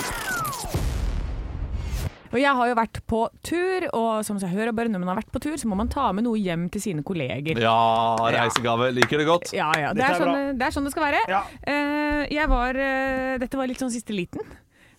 Speaker 2: Og jeg har jo vært på tur, og som seg hører og bør når man har vært på tur, så må man ta med noe hjem til sine kolleger.
Speaker 4: Ja, reisegave. Liker det godt.
Speaker 2: Ja, ja. Det
Speaker 3: Dette
Speaker 2: er,
Speaker 3: er bra.
Speaker 2: sånn, det er sånn det skal være. Eh, jeg var eh, Dette var litt sånn siste liten.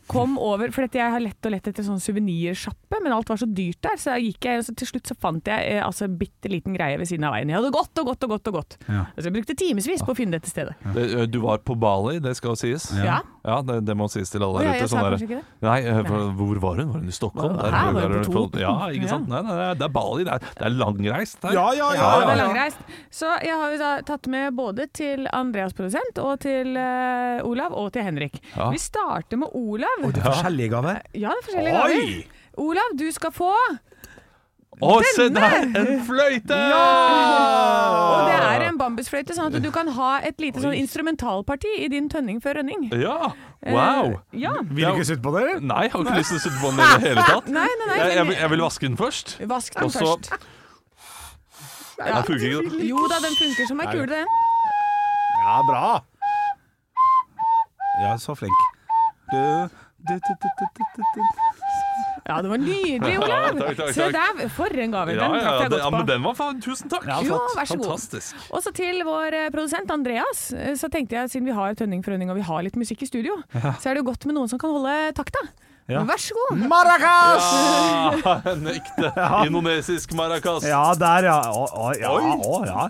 Speaker 2: Kom over, for dette jeg har lett og lett etter sånn suvenirsjappe, men alt var så dyrt der. Så jeg gikk jeg, så til slutt så fant jeg eh, altså bitte liten greie ved siden av veien. Jeg hadde gått og gått og gått og gått.
Speaker 3: Ja.
Speaker 2: Altså, jeg brukte timevis på å finne dette stedet.
Speaker 4: Det, Du var på Bali, det skal sies.
Speaker 2: Ja.
Speaker 4: Ja, det, det må sies til alle
Speaker 2: Å,
Speaker 4: der
Speaker 2: ja,
Speaker 4: ute.
Speaker 2: jeg sa
Speaker 4: der-
Speaker 2: kanskje ikke det?
Speaker 4: Nei, eh, for- hvor var hun? Var hun i Stockholm?
Speaker 2: Hva-
Speaker 4: Der-
Speaker 2: her var hun
Speaker 4: der-
Speaker 2: på
Speaker 4: der-
Speaker 2: Toten.
Speaker 4: Ja, ikke sant? Nei, nei, nei, det er Bali. Det er, det er langreist der.
Speaker 3: Ja, ja, ja,
Speaker 2: Ja, det
Speaker 3: ja,
Speaker 2: er
Speaker 3: ja.
Speaker 2: langreist. Så jeg har jo da tatt med både til Andreas produsent og til eh, Olav og til Henrik.
Speaker 4: Ja.
Speaker 2: Vi starter med Olav.
Speaker 3: Det er forskjellige gaver.
Speaker 2: Ja, det er forskjellige gaver. Olav, du skal få
Speaker 4: Å, se der! En fløyte!
Speaker 2: Og det
Speaker 4: Ja!
Speaker 2: er en bambusfløyte, sånn at du kan ha et lite sånn instrumentalparti i din tønning før rønning.
Speaker 4: Ja! Wow!
Speaker 2: Eh, ja.
Speaker 3: Vil du ikke sutte på det? eller?
Speaker 4: Nei, jeg har ikke lyst til å sitte på den i det hele tatt.
Speaker 2: Nei, nei, nei.
Speaker 4: Jeg, jeg,
Speaker 2: men-
Speaker 4: vil- jeg vil vaske den først.
Speaker 2: Vask den
Speaker 4: Og så
Speaker 2: først.
Speaker 4: Den funker ikke. da.
Speaker 2: Jo da, den funker som ei kule, den.
Speaker 3: Ja, bra. Ja, så flink. Du, du, du, du, du, du, du, du.
Speaker 2: Ja, det var nydelig, Olav.
Speaker 4: Ja, takk, takk,
Speaker 2: Se
Speaker 4: takk.
Speaker 2: der, for en gave. Den
Speaker 4: Ja, ja,
Speaker 2: traff jeg
Speaker 4: det,
Speaker 2: godt
Speaker 4: ja,
Speaker 2: på.
Speaker 4: men den var faen Tusen takk!
Speaker 3: Ja,
Speaker 2: Jo, vær så god.
Speaker 4: Fantastisk.
Speaker 2: Og så til vår eh, produsent Andreas, eh, så tenkte jeg siden vi har Tønning for Rønning og vi har litt musikk i studio, så er det jo godt med noen som kan holde takta. Vær så god.
Speaker 3: Maracas!
Speaker 4: Ah, en ekte indonesisk maracas.
Speaker 3: Ja, der, ja. Å, å, ja,
Speaker 4: Oi.
Speaker 3: å, ja.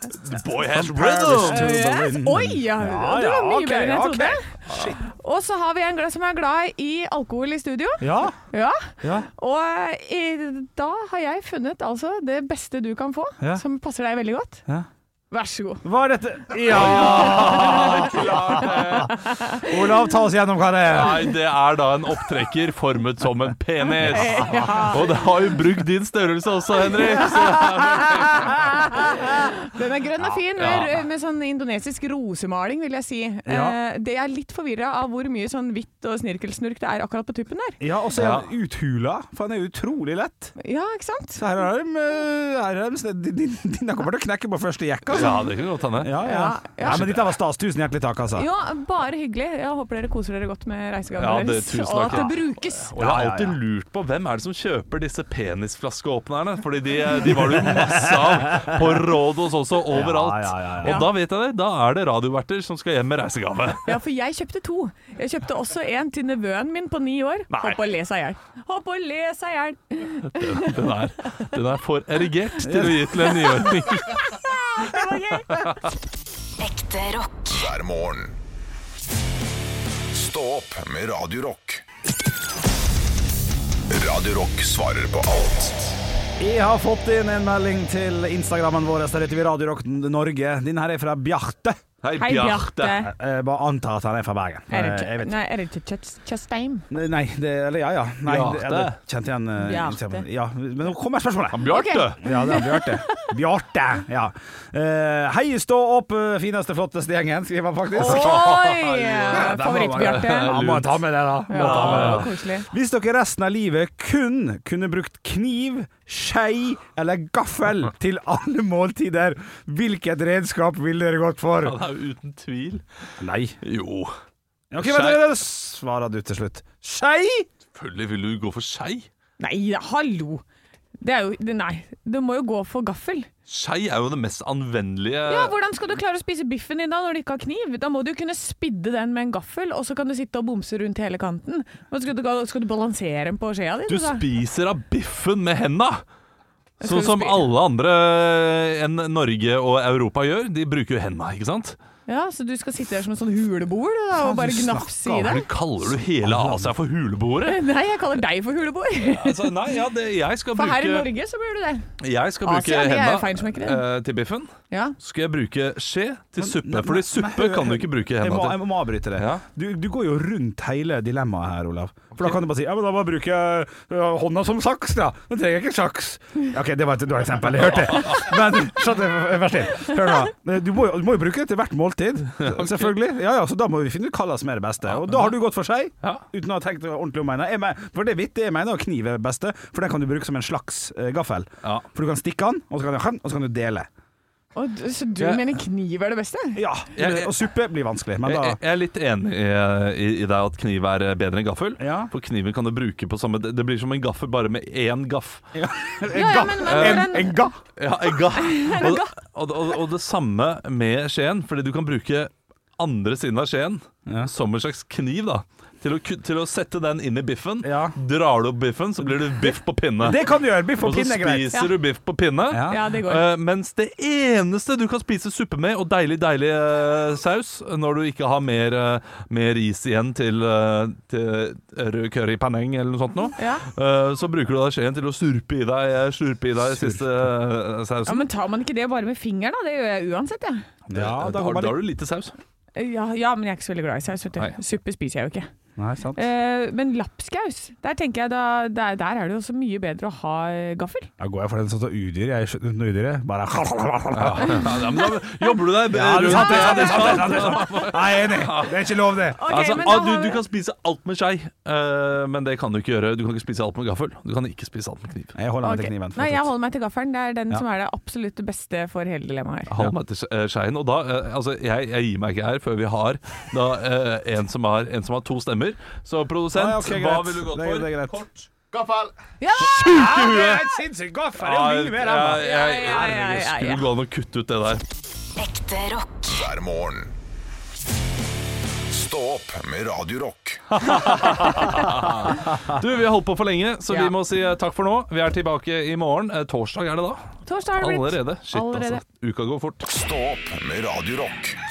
Speaker 4: Boy has
Speaker 3: Paris to
Speaker 4: rhythm!
Speaker 3: the
Speaker 2: Yes.
Speaker 3: wind.
Speaker 2: Oi! Ja,
Speaker 3: Ja,
Speaker 2: det var
Speaker 3: ja,
Speaker 2: mye
Speaker 3: ok,
Speaker 2: bedre enn jeg
Speaker 3: ok.
Speaker 2: trodde. Og så har vi en gla- som er glad i alkohol i studio.
Speaker 3: Ja,
Speaker 2: Ja.
Speaker 3: ja.
Speaker 2: Og eh, i, da har jeg funnet altså det beste du kan få,
Speaker 3: Ja.
Speaker 2: som passer deg veldig godt.
Speaker 3: Ja.
Speaker 2: Vær så god.
Speaker 3: Hva er dette? Ja! Olav, ta oss gjennom hva det er.
Speaker 4: Nei, det er da en opptrekker formet som en penis. Og det har jo brukt din størrelse også, Henrik. Så
Speaker 2: Den er grønn og fin,
Speaker 4: Ja.
Speaker 2: med, med sånn indonesisk rosemaling, vil jeg si.
Speaker 3: Ja.
Speaker 2: Eh, det er litt forvirra av hvor mye sånn hvitt og snirkelsnurk det er akkurat på tuppen der.
Speaker 3: Ja, og så er han uthula, for han er jo utrolig lett.
Speaker 2: Ja, ikke sant?
Speaker 3: Så her er de, eh, her er de din- din- Dine kommer til å knekke på første jekk, altså.
Speaker 4: liksom- ja, det kan godt hende.
Speaker 3: Ja, ja.
Speaker 2: Ja, ja.
Speaker 3: Nei, men dette var stas. Tusen hjertelig takk, altså.
Speaker 2: Ja, bare hyggelig. Jeg håper dere koser dere godt med
Speaker 4: Ja,
Speaker 2: reisegavene
Speaker 4: det-
Speaker 2: deres,
Speaker 4: tusen
Speaker 2: og at
Speaker 4: takk.
Speaker 2: det brukes.
Speaker 4: Og jeg har
Speaker 3: Ja, ja,
Speaker 4: alltid lurt på hvem er det som kjøper disse penisflaskeåpnerne? Fordi de, de var det jo masse av på råd hos også, overalt.
Speaker 3: Ja, ja, ja, ja.
Speaker 4: Og da vet jeg det, da er det radioverter som skal hjem med reisegave.
Speaker 2: Ja, for jeg kjøpte to. Jeg kjøpte også en til nevøen min på ni år.
Speaker 4: Nei.
Speaker 2: Hopp og le seg i hjel. Hopp og le seg i hjel.
Speaker 4: Den er, den er for erigert til å gi til en niåring.
Speaker 2: Det var gøy.
Speaker 6: Ekte rock.
Speaker 1: hver morgen. Stå opp med Radio Rock. Radio Rock svarer på alt
Speaker 3: Jeg har fått inn en melding til Instagrammen vår. Der heter vi Radio Rock Norge. Denne her er fra Bjarte.
Speaker 4: Hei,
Speaker 2: Hei,
Speaker 4: Bjarte.
Speaker 2: Bjarte.
Speaker 3: Jeg bare antar at han er fra Bergen.
Speaker 2: Er det
Speaker 3: Eh,
Speaker 2: ikke-
Speaker 3: jeg vet.
Speaker 2: Nei, er det ikke Chas- Chastain?
Speaker 3: Nei, det, eller ja ja. Nei, det, jeg
Speaker 4: Bjarte.
Speaker 3: kjente igjen eh,
Speaker 2: Bjarte.
Speaker 3: Ja, men nå kommer spørsmålet.
Speaker 4: Han Bjarte!
Speaker 3: Ja, det er Bjarte. Bjarte, ja. Eh, hei, stå opp, eh, fineste, flotteste gjengen, skriver han faktisk.
Speaker 2: Oi!
Speaker 3: Ja, der må man-
Speaker 2: Favoritt-Bjarte.
Speaker 3: Ja, må ta med det, da. Må ta med det.
Speaker 2: Ja, koselig.
Speaker 3: Hvis dere resten av livet kun kunne brukt kniv, skei eller gaffel til alle måltider, hvilket redskap ville dere gått for?
Speaker 4: Han er jo uten tvil.
Speaker 3: Nei.
Speaker 4: Jo,
Speaker 3: Ok, men
Speaker 4: Skei.
Speaker 3: dere svarer du til slutt. Skei?
Speaker 4: selvfølgelig vil du gå for skei.
Speaker 2: Nei, ja, hallo! Det er jo det- Nei, du må jo gå for gaffel.
Speaker 4: Skei er jo det mest anvendelige
Speaker 2: Ja, Hvordan skal du klare å spise biffen din da når du ikke har kniv? Da må du jo kunne spidde den med en gaffel, og så kan du sitte og bomse rundt hele kanten. Men skal, du, ga- skal du balansere den på skjea di?
Speaker 4: Du
Speaker 2: da?
Speaker 4: spiser av biffen med henda!
Speaker 2: skal
Speaker 4: Sånn
Speaker 2: du
Speaker 4: som
Speaker 2: spi-
Speaker 4: alle andre enn Norge og Europa gjør. De bruker jo henda, ikke sant?
Speaker 2: Ja, Så du skal sitte der som en sånn huleboer du, da, og bare
Speaker 3: du
Speaker 2: gnafse
Speaker 3: snakker
Speaker 2: i
Speaker 3: om
Speaker 2: det?
Speaker 4: Men kaller du hele Asia for huleboere?
Speaker 2: Nei, jeg kaller deg for huleboer.
Speaker 4: Altså, nei, ja, det, jeg skal
Speaker 2: For her i
Speaker 4: bruke,
Speaker 2: Norge så blir du det.
Speaker 4: jeg skal
Speaker 2: Asia,
Speaker 4: bruke
Speaker 2: de er
Speaker 4: henda
Speaker 2: feinschmeckere.
Speaker 4: eh, til biffen.
Speaker 2: Ja.
Speaker 4: Så skal jeg bruke skje til
Speaker 3: Nei,
Speaker 4: suppe,
Speaker 3: men-
Speaker 4: Fordi suppe
Speaker 3: men-
Speaker 4: kan du ikke bruke
Speaker 3: Jeg må,
Speaker 4: henda
Speaker 3: jeg
Speaker 4: til.
Speaker 3: må avbryte det.
Speaker 4: Ja.
Speaker 3: Du, du går jo rundt hele dilemmaet her, Olav. For da kan du bare si ja, men da bare bruker jeg øh, hånda som saks, da. Da trenger jeg ikke saks. OK, det var et dårlig eksempel, jeg hørte det. Men skjønner jeg vær snill. Hør nå. Eh, Du må, jo- du må jo bruke det til hvert måltid, selvfølgelig. Ja ja, så da må vi finne ut hva som er det beste. Og da har du gått for seg,
Speaker 4: Ja.
Speaker 3: uten å ha tenkt ordentlig om mener. Jeg men- For det er vittig, jeg mener jo kniv er det beste, for den kan du bruke som en slags eh, gaffel.
Speaker 4: Ja.
Speaker 3: For du kan stikke den, og så kan du, og så kan du dele.
Speaker 2: Og, du- så du
Speaker 4: Ja.
Speaker 2: mener kniv er det beste?
Speaker 3: Ja,
Speaker 4: Jeg- jeg-
Speaker 3: og suppe blir vanskelig, men
Speaker 4: Jeg,
Speaker 3: da
Speaker 4: jeg jeg er litt enig eh, i, i, i deg at kniv er eh, bedre enn gaffel.
Speaker 3: Ja.
Speaker 4: For kniven kan du bruke på samme Det det blir som en gaffel, bare med én gaff.
Speaker 3: En
Speaker 2: ja,
Speaker 3: ga-
Speaker 2: men- men-
Speaker 3: en- En ga!
Speaker 4: Ja, en gaff. Og, og, og, og det samme med skjeen, fordi du kan bruke andre siden av skjeen
Speaker 3: Ja.
Speaker 4: som en slags kniv, da. Til å, ku- til å sette den inn i biffen.
Speaker 3: Ja.
Speaker 4: Drar du opp biffen, så blir det biff på pinne.
Speaker 3: Det kan du gjøre. Biff
Speaker 4: Og
Speaker 3: og
Speaker 4: så
Speaker 3: pinne er greit.
Speaker 4: spiser du biff på pinne.
Speaker 3: Ja.
Speaker 2: Ja, det går.
Speaker 4: Eh, mens det eneste du kan spise suppe med, og deilig, deilig eh, saus, når du ikke har mer, eh, mer ris igjen til, eh, til rød curry paneng eller noe sånt nå,
Speaker 2: Ja.
Speaker 4: eh, så bruker du da skjeen til å surpe i deg, eh, slurpe i deg siste eh,
Speaker 2: Ja,
Speaker 4: sausen.
Speaker 2: Men tar man ikke det bare med fingeren, da? Det gjør jeg uansett, jeg.
Speaker 3: Ja, da
Speaker 4: da,
Speaker 3: går
Speaker 4: har,
Speaker 3: man
Speaker 4: da har du lite saus.
Speaker 2: Ja, ja, men jeg er ikke så veldig glad i saus. vet
Speaker 4: Nei.
Speaker 2: du. Suppe spiser jeg jo ikke.
Speaker 3: Nei, sant.
Speaker 2: Eh, men lapskaus, der tenker jeg da, der, der er det jo så mye bedre å ha eh, gaffel.
Speaker 3: Da går jeg for den som står udyr. Jeg skjønner noe udyr. jeg. Bare
Speaker 4: Ja, ja, men da jobber du deg
Speaker 3: Ja, det er sant, det er sant, det er sant, det er sant, det er
Speaker 4: rundt.
Speaker 3: sant. Nei, jeg er enig. Det er ikke lov, det.
Speaker 2: Ok,
Speaker 4: Altså,
Speaker 2: men da
Speaker 4: ah,
Speaker 2: har
Speaker 4: du,
Speaker 2: vi-
Speaker 4: du kan spise alt med skei, eh, men det kan du ikke gjøre. Du kan ikke spise alt med gaffel. Du kan ikke spise alt med kniv.
Speaker 3: Jeg holder meg
Speaker 2: Ok.
Speaker 3: til kniven.
Speaker 2: Nei, jeg holder meg til gaffelen. Det er den
Speaker 3: Ja.
Speaker 2: som er det absolutt beste for hele dilemmaet her.
Speaker 4: Hold meg til eh, Schein. Og da, eh, altså, jeg, jeg gir meg ikke her før vi har da, eh, en, som har, en som har to stemmer. Så produsent,
Speaker 3: Ah, ja, ok,
Speaker 4: hva
Speaker 3: greit.
Speaker 4: vil du gått
Speaker 3: Det er-
Speaker 4: for?
Speaker 3: det er greit.
Speaker 4: Kort?
Speaker 3: Det er et sinnssykt gaffel. Det er jo mye mer enn
Speaker 4: jeg, jeg,
Speaker 2: Ja, ja, ja,
Speaker 4: jeg
Speaker 2: ja, ja.
Speaker 4: skulle gå an å kutte ut det der.
Speaker 6: Ekte rock.
Speaker 1: hver morgen. Stå opp med Radio Rock.
Speaker 4: Du, vi har holdt på for lenge, så
Speaker 2: Ja.
Speaker 4: vi må si eh, takk for nå. Vi er tilbake i morgen. Eh, torsdag er det da.
Speaker 2: Torsdag har det blitt.
Speaker 4: Allerede. Shit,
Speaker 2: Allerede.
Speaker 4: altså. Uka går fort.
Speaker 1: Stå opp med Radio Rock.